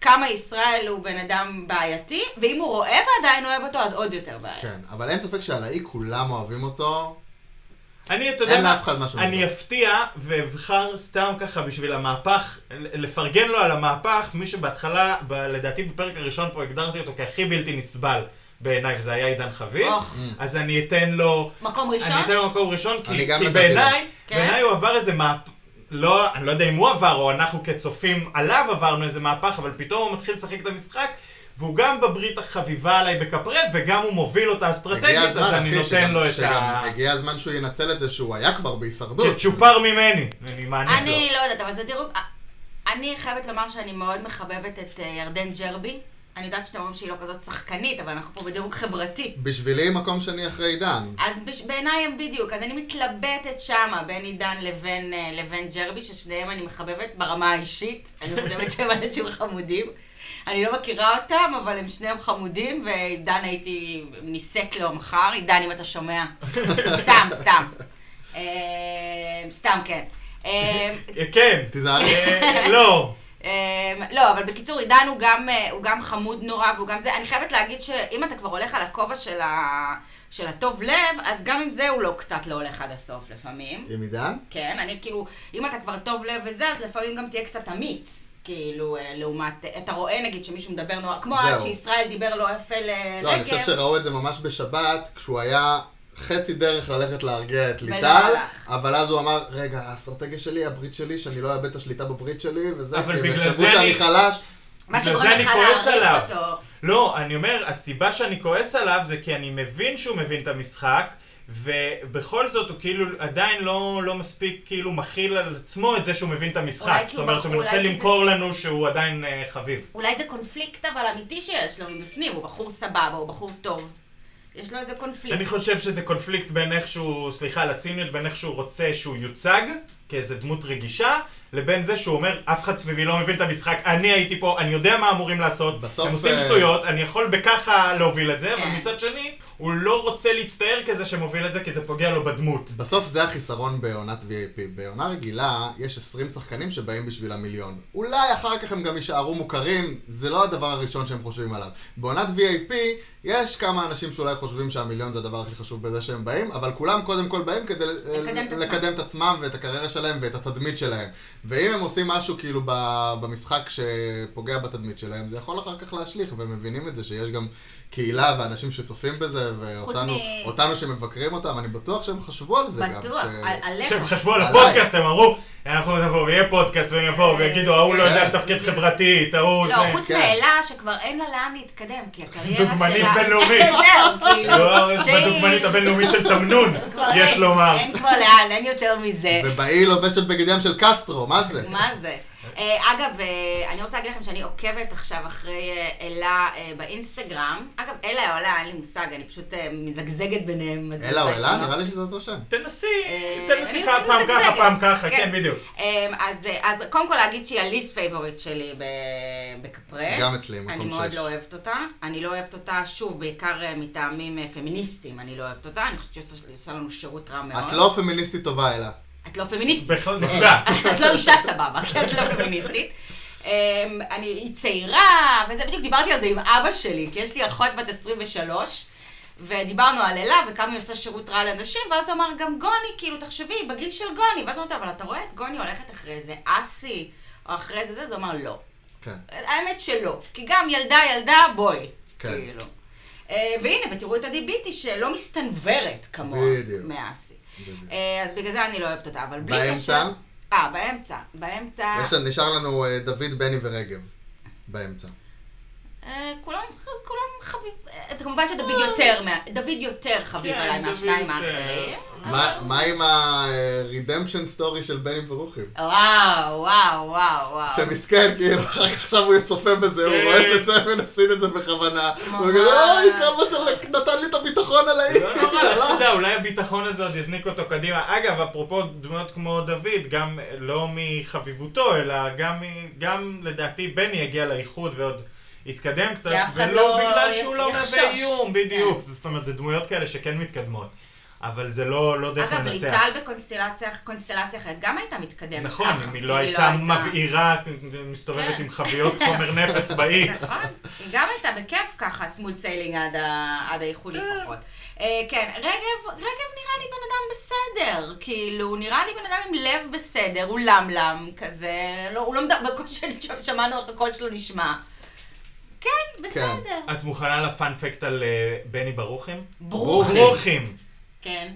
C: כמה ישראל הוא בן אדם בעייתי, ואם הוא רואה ועדיין אוהב אותו, אז עוד יותר בעייתי.
A: כן, אבל אין ספק שעל האי כולם אוהבים אותו.
B: אני, אתה יודע
A: אין
B: מה,
A: לאף אחד משהו
B: אני
A: נגדו.
B: אפתיע ואבחר סתם ככה בשביל המהפך, ל- לפרגן לו על המהפך, מי שבהתחלה, ב- לדעתי בפרק הראשון פה הגדרתי אותו כהכי בלתי נסבל בעיניי, וזה היה עידן חביב,
C: אוח.
A: Mm.
B: אז אני אתן לו,
C: מקום
B: אני
C: ראשון?
B: אתן לו מקום ראשון,
A: אני
B: כי,
A: גם נתתי
B: כי
A: לו.
B: בעיניי,
C: כן?
B: בעיניי הוא עבר איזה מהפך. לא, אני לא יודע אם הוא עבר, או אנחנו כצופים עליו עברנו איזה מהפך, אבל פתאום הוא מתחיל לשחק את המשחק, והוא גם בברית החביבה עליי בקפרה, וגם הוא מוביל אותה אסטרטגית,
A: הגיע
B: אז
A: הזמן,
B: אני
A: אחי,
B: נותן
A: שגם-
B: לו את
A: שגם
B: ה...
A: הגיע הזמן שהוא ינצל את זה שהוא היה כבר בהישרדות.
B: צ'ופר ממני, אני מעניק לו.
C: אני לא יודעת, אבל זה דירוג... אני חייבת לומר שאני מאוד מחבבת את אה, ירדן ג'רבי. אני יודעת שאתם אומרים שהיא לא כזאת שחקנית, אבל אנחנו פה בדירוג חברתי.
A: בשבילי מקום שני אחרי עידן.
C: אז בש... בעיניי הם בדיוק, אז אני מתלבטת שמה בין עידן לבין, אה, לבין ג'רבי, ששניהם אני מחבבת ברמה האישית. אני חושבת שהם אנשים חמודים. אני לא מכירה אותם, אבל הם שניהם חמודים, ועידן הייתי נישאת לו מחר. עידן, אם אתה שומע. סתם, סתם. אה, סתם, כן. אה,
B: אה, כן.
A: תיזהרי.
B: אה, לא.
C: אמ, לא, אבל בקיצור, עידן הוא גם, אה, הוא גם חמוד נורא והוא גם זה. אני חייבת להגיד שאם אתה כבר הולך על הכובע של, ה... של הטוב לב, אז גם עם זה הוא לא קצת לא הולך עד הסוף לפעמים.
A: עם עידן?
C: כן, אני כאילו, אם אתה כבר טוב לב וזה, אז לפעמים גם תהיה קצת אמיץ. כאילו, אה, לעומת, אה, אתה רואה נגיד שמישהו מדבר נורא, כמו
A: זהו.
C: אז שישראל דיבר לא יפה
A: לא, אני חושב
C: לרגב.
A: שראו את זה ממש בשבת, כשהוא היה חצי דרך ללכת להרגיע את ליטל,
C: הלך.
A: אבל אז הוא אמר, רגע, האסטרטגיה שלי, הברית שלי, שאני לא אאבד את השליטה בברית שלי, וזה,
B: אבל
A: כי הם
B: בגלל
A: יחשבו
B: זה
A: שאני
B: אני-
A: חלש.
C: מה
B: בגלל
C: שגורם
B: זה אני
C: לך
B: כועס עליו.
C: להרחיק אותו.
B: לא, אני אומר, הסיבה שאני כועס עליו זה כי אני מבין שהוא מבין את המשחק, ובכל זאת הוא כאילו עדיין לא, לא מספיק כאילו מכיל על עצמו את זה שהוא מבין את המשחק.
C: אולי כי
B: זאת
C: הוא
B: אומרת,
C: בח-
B: הוא
C: אולי
B: מנסה
C: כי זה-
B: למכור לנו שהוא עדיין אה, חביב.
C: אולי זה קונפליקט אבל אמיתי שיש לו מבפנים, הוא בחור סבבה, הוא בחור טוב. יש לו איזה
B: אני
C: קונפליקט.
B: חושב שזה קונפליקט בין איך שהוא, סליחה על הציניות, בין איך שהוא רוצה שהוא יוצג, כאיזה דמות רגישה, לבין זה שהוא אומר, אף אחד סביבי לא מבין את המשחק, אני הייתי פה, אני יודע מה אמורים לעשות,
A: בסוף,
B: הם עושים
A: אה,
B: שטויות, אני יכול בככה להוביל את זה, אבל
C: כן.
B: מצד שני, הוא לא רוצה להצטער כזה שמוביל את זה, כי זה פוגע לו בדמות.
A: בסוף זה החיסרון בעונת VIP. בעונה רגילה, יש 20 שחקנים שבאים בשביל המיליון. אולי אחר כך הם גם יישארו מוכרים, זה לא הדבר הראשון שהם חושבים עליו. בעונת VIP, יש כמה אנשים שאולי חושבים שהמיליון זה הדבר הכי חשוב בזה שהם באים, אבל כולם קודם כל באים כדי ל-
C: לקדם את עצמם.
A: לקדם את עצמם ואת הקריירה שלהם ואת התדמית שלהם. ואם הם עושים משהו כאילו ב- במשחק שפוגע בתדמית שלהם, זה יכול אחר כך להשליך, והם מבינים את זה שיש גם קהילה ואנשים שצופים בזה, ואותנו...
C: מ-
A: אותנו שמבקרים אותם, אני בטוח שהם חשבו על זה גם.
C: בטוח,
A: ש-
C: על- עליך.
B: כשהם חשבו על
A: עליי.
B: הפודקאסט, הם אמרו, אנחנו נבוא, ויהיה פודקאסט, והם יבואו, ויגידו, ההוא לא יודע
A: כן.
B: לתפקד חברתית, ההוא זה.
C: אה, לא, חוץ
A: כן.
C: מאלה שכבר אין לה לאן להתקדם, כי הקריירה שלה...
B: דוגמנית בינלאומית.
C: זהו, כאילו.
B: לא,
C: שהיא-
B: בדוגמנית הבינלאומית של תמנון,
C: כבר
B: יש
C: אין,
B: לומר.
C: אין כבר לאן, אין יותר מזה.
A: ובאי לובשת בגד ים של קסטרו, מה זה?
C: מה זה? אה, אגב, אה, אני רוצה להגיד לכם שאני עוקבת עכשיו אחרי אה, אלה אה, באינסטגרם. אגב, אלה או אלה, אין לי מושג, אני פשוט אה, מזגזגת ביניהם.
A: אלה או
C: לא.
A: אלה? נראה לי שזה אותו שם.
B: תנסי,
C: אה,
B: תנסי
C: אני
B: כמה-
C: עושה
B: פעם
C: מזגזגת.
B: ככה, פעם ככה,
C: כן.
B: כן, בדיוק.
C: אמ, אז, אה, אז קודם כל להגיד שהיא הליסט פייבוריט שלי ב- בקפרה.
A: גם אצלי, מקום
C: אני מאוד
A: שש.
C: לא אוהבת אותה. אני לא אוהבת אותה, שוב, בעיקר אה, מטעמים אה, פמיניסטיים אני לא אוהבת אותה. אני חושבת שהיא עושה- היא עושה לנו שירות רע מאוד.
A: את לא פמיניסטית טובה, אלה.
C: את לא פמיניסטית.
B: בכלל, נקודה.
C: את לא אישה סבבה, כי את לא פמיניסטית. אמ, אני, היא צעירה, וזה בדיוק דיברתי על זה עם אבא שלי, כי יש לי אחות בת 23, ודיברנו על אלה וכמה היא עושה שירות רע לאנשים, ואז הוא אמר גם גוני, כאילו, תחשבי, היא בגיל של גוני, ואז אמרתי, אבל אתה רואה את גוני הולכת אחרי איזה אסי, או אחרי איזה זה, אז הוא אמר לא.
A: כן.
C: האמת שלא, כי גם ילדה ילדה בואי,
A: כן.
C: כאילו. אה, והנה, ותראו את עדי ביטי שלא מסתנוורת כמוה
A: בדיוק.
C: מאסי.
A: בדיוק.
C: אה, אז בגלל זה אני לא אוהבת אותה, אבל בלי
A: באמצע?
C: קשר... אה, באמצע. באמצע...
A: יש- נשאר לנו אה, דוד, בני ורגב. באמצע.
C: אה, כולם כולם חביב... אה, כמובן שדוד יותר מה- דוד יותר חביב
B: כן,
C: עליי
B: דוד
C: מהשניים
B: יותר.
C: האחרים.
A: מה מה עם ה-redemption story של בני ברוכין?
C: וואו, וואו, וואו, וואו.
A: שמסכן, כאילו, אחר כך עכשיו הוא צופה בזה, הוא
B: כן.
A: רואה שסמל הפסיד את זה בכוונה. הוא
C: ממש.
A: כזה, אוי, כמה שנתן לי את הביטחון על האי.
B: לא נורא, אתה יודע, אולי הביטחון הזה עוד יזניק אותו קדימה. אגב, אפרופו דמויות כמו דוד, גם אה, לא מחביבותו, אלא גם, מ- גם לדעתי בני יגיע לאיחוד ועוד יתקדם קצת,
C: כי אף אחד
B: ולא
C: לא
B: בגלל שהוא לא
C: יחשוש.
B: מהווה איום, בדיוק.
C: כן.
B: זאת אומרת, זה דמויות כאלה שכן מתקדמות. אבל זה לא, לא דרך
C: אגב,
B: לנצח.
C: ליטל בקונסטלציה קונסטלציה אחרת גם הייתה מתקדמת.
B: נכון,
C: ככה,
B: אם היא לא הייתה מבעירה, מסתובבת
C: כן.
B: עם חביות חומר נפץ באי.
C: נכון, היא גם הייתה בכיף ככה, סמוד סיילינג עד, ה- עד
A: כן.
C: האיחוד לפחות. אה, כן, רגב, רגב נראה לי בן אדם בסדר, כאילו, הוא נראה לי בן אדם עם לב בסדר, הוא למלם כזה, לא, הוא לא מדבר, בקושי שמענו איך הקול שלו נשמע. כן, בסדר.
B: את מוכנה לפאנפקט על אה, בני ברוכין?
C: ברור.
A: ברוכין.
B: ברוכין.
C: כן.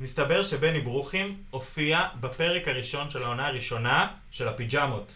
B: מסתבר שבני ברוכים הופיע בפרק הראשון של העונה הראשונה של הפיג'מות.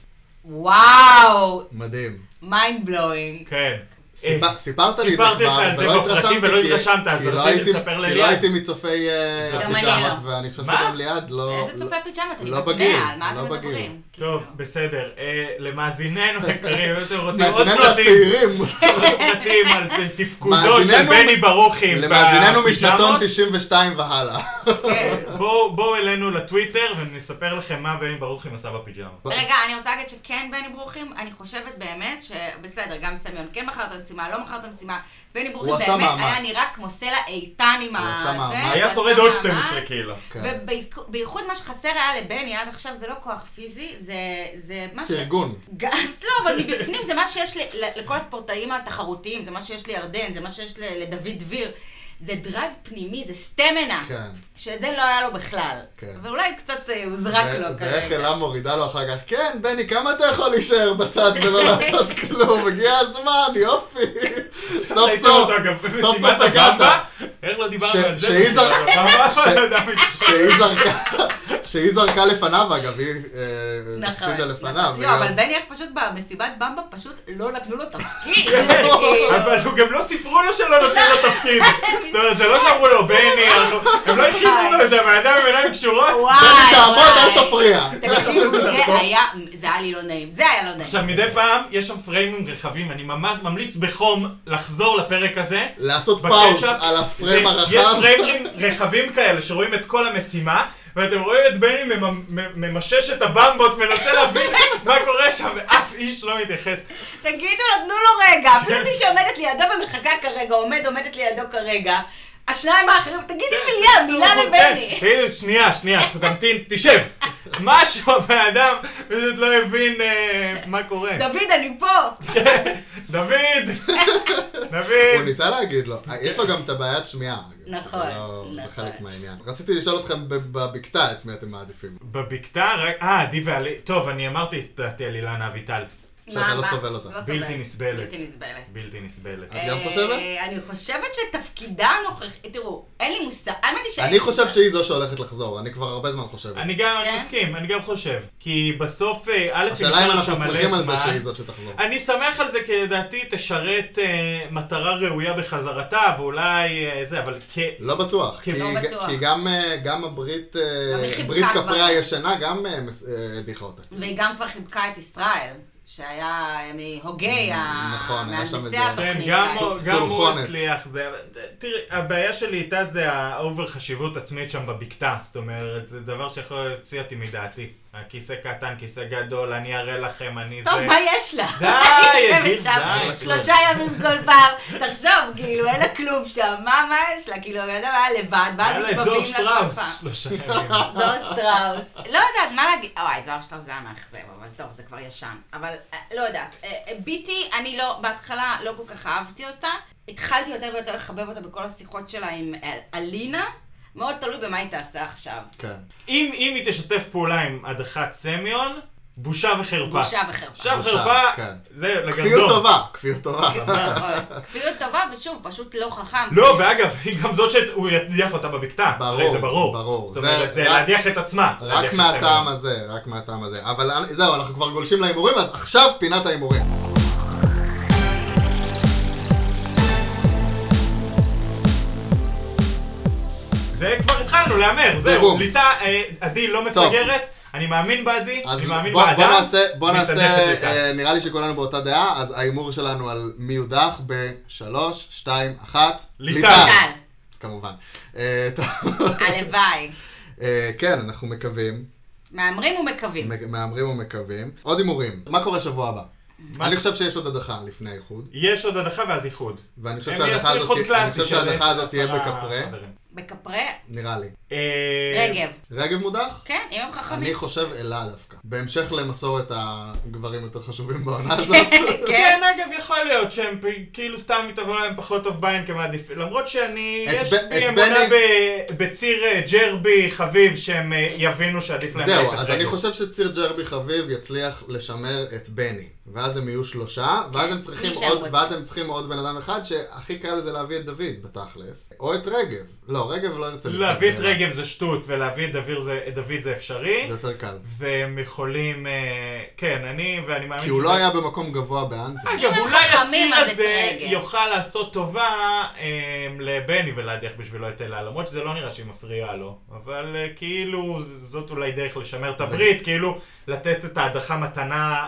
C: וואו,
A: מדהים.
C: מיינד בלואינג.
B: כן.
A: סיפ- סיפרת לי את זה
B: סיפרתי לך
A: כבר,
B: על זה
A: ולא
B: בפרטי
A: התרשמתי,
B: ולא
A: כי-
B: התרשמת, אז
A: כי לא
B: רציתי
A: הייתי-
B: לספר
A: כי לא
B: לליעד.
A: הייתי מצופי אה,
C: גם אני
A: הפיג'מות,
C: לא.
A: ואני חושב
B: מה?
A: שגם ליעד לא...
C: איזה צופה פיג'מות, אני
A: לא
C: בת
A: בגיל,
C: מאה, על מה
A: לא
C: אתם
A: בגיל.
C: מדברים?
B: טוב,
C: כאילו.
B: בסדר. אה, למאזיננו היקרים, אם אתם רוצים עוד
A: מאזיננו
B: פרטים,
A: הצעירים,
B: עוד פרטים על ת- תפקודו של
A: מאזיננו-
B: בני ברוכין
A: למאזיננו משנתון
B: בפיג'מות,
A: 92 והלאה.
C: כן.
B: בואו בואו אלינו לטוויטר ונספר לכם מה בני ברוכין עשה
A: אוקיי.
B: בפיג'מות.
C: רגע, אני רוצה להגיד שכן בני ברוכים, אני חושבת באמת שבסדר, גם סמיון כן מכר את המשימה, לא מכר את המשימה. בני ברוכים
A: הוא עשה
C: באמת היה
A: מאמץ.
C: נראה כמו סלע איתן עם
A: הוא
C: ה...
A: עשה
C: זה,
A: מאמץ.
C: הוא
B: היה
C: עשה
B: שורד עוד
C: מאמץ.
B: 12 קילו.
A: כן.
C: ובייחוד מה שחסר היה לבני עד עכשיו זה לא כוח פיזי, זה- זה מה ש...
A: ארגון.
C: גם, לא, אבל מבפנים זה מה שיש ל, ל, לכל הספורטאים התחרותיים, זה מה שיש לירדן, זה מה שיש ל, לדוד דביר. זה דרייב פנימי, זה סטמנה.
A: כן.
C: שאת זה לא היה לו בכלל.
A: כן.
C: ואולי קצת אה, הוזרק
A: ו-
C: לו כרגע.
A: ואיך אלה מורידה לו אחר כך, כן, בני, כמה אתה יכול להישאר בצד ולא לעשות כלום? הגיע הזמן, יופי. סוף סוף,
B: ראיתם אותו, אגב,
A: סוף סוף
B: במשימת
A: הגעת.
B: הגמבה? איך לא
A: ש-
B: דיברנו על זה?
A: שהיא זר-
B: בכלל? מה הבן אדם הזה?
A: שהיא זרקה, שהיא זרקה לפניו אגב, היא אה, הפסידה לפניו.
C: נכון. לא, אבל בניאק פשוט במסיבת במבה פשוט לא נתנו לו תפקיד. כאילו,
B: אבל הוא גם לא סיפרו לו שלא נותנים לו תפקיד. זאת אומרת, לא. זה לא שאמרו לו, בני, אנחנו- הם לא הכינו אותו לזה, הבן אדם עם עיניים קשורות.
C: וואי,
A: בני, תעמוד, אל
C: וואי.
A: תפריע.
C: תקשיבו, זה היה, זה היה לי לא נעים, זה היה לא נעים.
B: עכשיו, מדי פעם יש שם פריימים רחבים, אני ממש ממליץ בחום לחזור לפרק הזה.
A: לעשות
B: בקטשאפ.
A: פאוס על הפריים
B: זה- יש
A: הרחב.
B: פריימים רחבים כאלה שרואים את כל המשימה, ואתם רואים את בני ממ- מ- ממשש את הבמבות, מנסה להבין מה קורה שם, ואף איש לא מתייחס.
C: תגידו לו, תנו לו רגע, אפילו מי שעומדת לידו ומחכה כרגע, עומד, עומדת לידו כרגע, השניים האחרים, תגידי
A: כן,
C: מילה, מילה לבני.
B: תגידו, אוקיי, כן, שנייה, שנייה, תמתין, תשב. משהו הבן אדם פשוט לא הבין אה, מה קורה.
A: כן.
C: דוד, אני פה.
B: דוד!
A: הוא
B: דוד!
A: ניסה להגיד לו, אה, יש לו גם את הבעיית שמיעה. אגב, שזה
C: נכון,
A: לא- זה
C: נכון.
A: חלק מהעניין. רציתי לשאול אתכם ב- בבקתה את מי אתם מעדיפים.
B: בבקתה, רק- אה, די ועלי... טוב, אני אמרתי את דעתי על אילנה אביטל.
A: שאתה לא סובל אותה.
C: סובל.
B: בלתי נסבלת.
C: בלתי נסבלת.
B: בלתי נסבלת.
A: את גם
C: אה,
A: חושבת?
C: אני חושבת שתפקידה הנוכחי, תראו, אין לי מושג, האמת היא שאין לי
A: אני חושב שהיא זו שהולכת לחזור, אני כבר הרבה זמן חושב. את זה.
B: אני גם אני
C: כן?
B: מסכים, אני גם חושב. כי בסוף, אה, א',
A: השאלה אם
B: נשאר
A: אנחנו
B: שם מלא
A: שמחים על זה
B: זמן.
A: שהיא זאת שתחזור.
B: אני שמח על זה, כי לדעתי תשרת אה, מטרה ראויה בחזרתה, ואולי אה, זה, אבל כ...
A: לא בטוח,
B: כן.
A: כי-
C: לא בטוח.
A: כי גם, אה, גם הברית אה,
C: גם היא חיבקה
A: ברית
C: כבר.
A: כפרי הישנה גם אה, מס- אה, הדיחה אותה.
C: והיא גם כבר חיבקה את ישראל, שהיה מהוגי
A: נכון, היה שם
C: המהנדסי
A: איזה-
B: כן,
C: התוכנית.
B: גם
C: האלה.
B: הוא-
A: ס-
B: גם הוא
A: סורחונת.
B: הצליח, זה... תראי, הבעיה שלי איתה זה האובר חשיבות עצמית שם בבקתה, זאת אומרת, זה דבר שיכול להוציא אותי מדעתי. הכיסא קטן, כיסא גדול, אני אראה לכם, אני זה...
C: טוב, מה יש לה?
B: די,
C: היא יושבת
B: אדיר,
C: שם
B: די.
C: שלושה ימים כל פעם, תחשוב, כאילו, אין לה כלום שם, מה, מה יש לה? כאילו, הבן אדם היה לבד, ואז
B: יאללה, את זוהר
C: מתבבים לה כל פעם.
B: שטראוס, שלושה ימים.
C: זוהר שטראוס. לא יודעת מה להגיד, אוי, זוהר שטראוס זה היה מאכזב, אבל טוב, זה כבר ישן. אבל אה, לא יודעת. אה, אה, ביטי, אני לא, בהתחלה לא כל כך אהבתי אותה. התחלתי יותר ויותר לחבב אותה בכל השיחות שלה עם אה, אלינה. מאוד תלוי במה היא תעשה עכשיו.
A: כן.
B: אם אם היא תשתף פעולה עם הדחת סמיון, בושה וחרפה.
C: בושה וחרפה.
B: בושה
A: בושה,
B: וחרפה,
A: כן.
B: זה לא. לגרדום.
A: כפיות טובה, כפיות טובה.
C: נכון. כפיות טובה, ושוב, פשוט לא חכם.
B: לא, ואגב, היא גם זאת שהוא ידיח אותה בבקתה.
A: ברור,
B: הרי זה ברור.
A: ברור.
B: זאת
A: זה
B: אומרת, זה
A: רק-
B: להדיח את עצמה. להדיח
A: רק
B: את
A: מהטעם
B: סמיון.
A: הזה, רק מהטעם הזה. אבל אה, זהו, אנחנו כבר גולשים להימורים, אז עכשיו פינת ההימורים.
B: זה כבר התחלנו להמר, זהו.
A: בום.
B: ליטה, אה, עדי לא
A: טוב.
B: מפגרת, אני מאמין בעדי,
A: אז
B: אני מאמין
A: בוא- בוא
B: באדם.
A: נעשה, בוא
B: מתנדבת
A: נעשה,
B: ליטה.
A: אה, נראה לי שכולנו באותה דעה, אז ההימור שלנו על מי יודח בשלוש, שתיים, אחת.
B: ליטל.
C: טל,
A: כמובן. אה, טוב.
C: הלוואי.
A: אה, כן, אנחנו מקווים,
C: מהמרים ומקווים.
A: מק- מהמרים ומקווים. עוד הימורים, מה קורה שבוע הבא?
B: מה-
A: אני חושב שיש עוד הדחה לפני האיחוד,
B: יש עוד הדחה ואז איחוד.
A: ואני חושב
B: הם
A: שההדחה
B: יעשו
A: הזאת
B: איחוד
A: אני
B: קלאסי
A: חושב
B: של
A: שההדחה הזאת תהיה
B: עשרה
A: בקפרה,
B: חברים.
C: בקפרה,
A: נראה לי.
B: אה,
C: רגב.
A: רגב מודח?
C: כן, אם הם
A: אני
C: חכמים.
A: חושב אלה דווקא. בהמשך למסורת הגברים יותר חשובים בעונה הזאת.
C: כן.
B: כן, אגב, יכול להיות שהם פ- כאילו סתם תבוא להם פחות טוב ביין כמעדיף, למרות שאני,
A: את
B: יש
A: ב- את
B: לי אמונה
A: בני-
B: ב- בציר אה, ג'רבי חביב שהם אה, יבינו שעדיף להם
A: זהו,
B: להעיף את
A: אז
B: רגב.
A: אני חושב שציר ג'רבי חביב יצליח לשמר את בני. ואז הם יהיו שלושה, ואז הם צריכים
C: מי שהם
A: עוד,
C: רוצים.
A: ואז הם צריכים עוד בן אדם אחד, שהכי קל זה להביא את דוד, בתכלס. או את רגב. לא, רגב לא ירצה
B: להביא את
A: להתחתן.
B: רגב זה שטות, ולהביא את דוד זה- את דוד זה אפשרי,
A: זה יותר קל.
B: והם יכולים, אה, כן, אני, ואני מאמין
A: כי הוא
B: שזה-
A: לא היה במקום גבוה באנטי.
C: אה,
B: אגב,
C: אם הם
B: אולי
C: חכמים,
B: הציר
C: אז את
B: הזה
C: רגב.
B: יוכל לעשות טובה אה, לבני ולהדיח בשבילו את אלה, למרות שזה לא נראה שהיא מפריעה לו, אבל אה, כאילו ז- זאת אולי דרך לשמר את הברית, כאילו לתת את ההדחה מתנה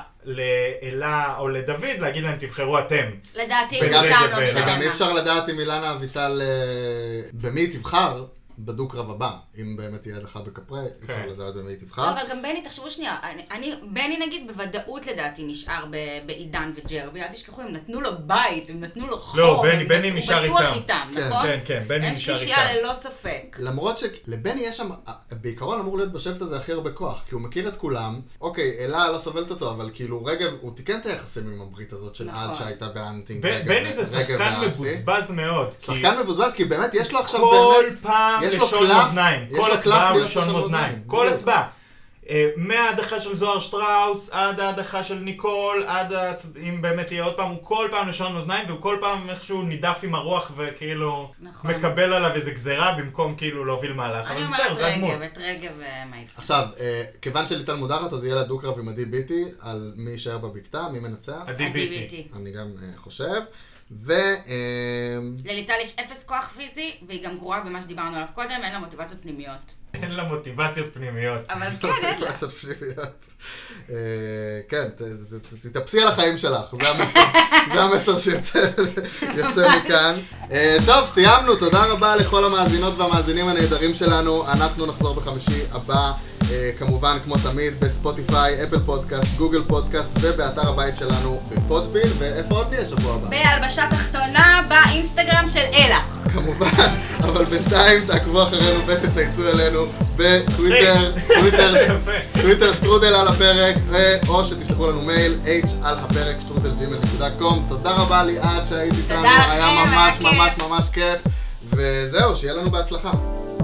B: לאלה או לדוד, להגיד להם תבחרו אתם.
C: לדעתי,
A: וגם-
C: איתם לא
B: וגם
C: משנה
A: שגם
C: מה.
A: אי אפשר לדעת אם אילנה אביטל, אה, במי היא תבחר בדו-קרב הבא. אם באמת תהיה לך בכפרי, אי אפשר
B: כן.
A: לדעת במי היא תבחר.
C: לא, אבל גם בני, תחשבו שנייה, אני, אני, בני נגיד בוודאות לדעתי נשאר ב, בעידן וג'רבי, אל תשכחו, הם נתנו לו בית, הם נתנו לו חום.
B: לא, בני-
C: הם-
B: בני
C: הוא
B: נשאר
C: בטוח
B: איתם.
C: איתם,
A: כן,
C: נכון?
B: כן, כן, בני נשאר
C: הם שלישייה
B: איתם.
C: ללא ספק.
A: למרות שלבני יש שם, אה, בעיקרון אמור להיות בשבט הזה הכי הרבה כוח, כי הוא מכיר את כולם. אוקיי, אלה לא סובלת אותו, אבל כאילו רגב, הוא תיקן את היחסים עם הברית הזאת של
C: נכון.
A: אז שהייתה באנטינג.
B: ב-
A: רגב
B: בני
A: ו-
B: זה
A: רגב
B: שחקן
A: ואסי.
B: מבוזבז מאוד. כי-
A: שחקן מבוזבז, כי באמת יש לו עכשיו
B: כל
A: באמת...
B: פעם
A: יש לו
B: לשון
A: קלף-
B: מאזניים,
A: יש
B: כל
A: לו
B: הצבעה
A: קלף
B: הוא
A: להיות
B: לשון
A: לשון
B: מאזניים,
A: מאזניים,
B: כל
A: בדיוק.
B: הצבעה. אה, מההדחה של זוהר שטראוס, עד ההדחה של ניקול, עד הצ... אם באמת יהיה עוד פעם, הוא כל פעם לשון מאזניים, והוא כל פעם איכשהו נידף עם הרוח וכאילו...
C: נכון.
B: מקבל עליו איזה גזירה במקום כאילו להוביל מהלך.
C: אני
B: אבל
C: אומרת
B: בסדר, זה הדמות.
C: רגב, את רגב אה, מעיפה.
A: עכשיו, אה, כיוון שליטל מודחת, אז יהיה לה דו-קרב עם עדי ביטי, על מי יישאר בבקתה, מי מנצח.
B: עדי ביטי.
C: ה-DBT.
A: אני גם אה, חושב. ו... אה,
C: לליטל יש אפס כוח פיזי, והיא גם גרועה במה שדיברנו עליו קודם, אין לה מוטיבציות פנימיות.
B: אין לה מוטיבציות פנימיות.
C: אבל כן, אין לה.
A: לעשות פנימיות. אה, כן, ת- ת- ת- תתאפסי על החיים שלך, זה המסר, זה המסר שיוצא יוצא מכאן. אה, טוב, סיימנו, תודה רבה לכל המאזינות והמאזינים הנהדרים שלנו. אנחנו נחזור בחמישי הבא, אה, כמובן, כמו תמיד, בספוטיפיי, אפל פודקאסט, גוגל פודקאסט, ובאתר הבית שלנו בפודביל, ואיפה עוד נהיה שבוע הבא?
C: בהלבשה תחתונה באינסטגרם של אלה.
A: כמובן, אבל בינתיים תעקבו אחרינו ותצייצו אלינו בטוויטר, טוויטר,
B: יפה.
A: טוויטר שטרודל על הפרק, ו- או שתשלחו לנו מייל, h על הפרק שטרודלג'ימל.קום. תודה רבה ליעד שהיית איתנו,
C: לכם,
A: היה ממש
C: היה
A: ממש
C: כיף.
A: ממש כיף, וזהו, שיהיה לנו בהצלחה.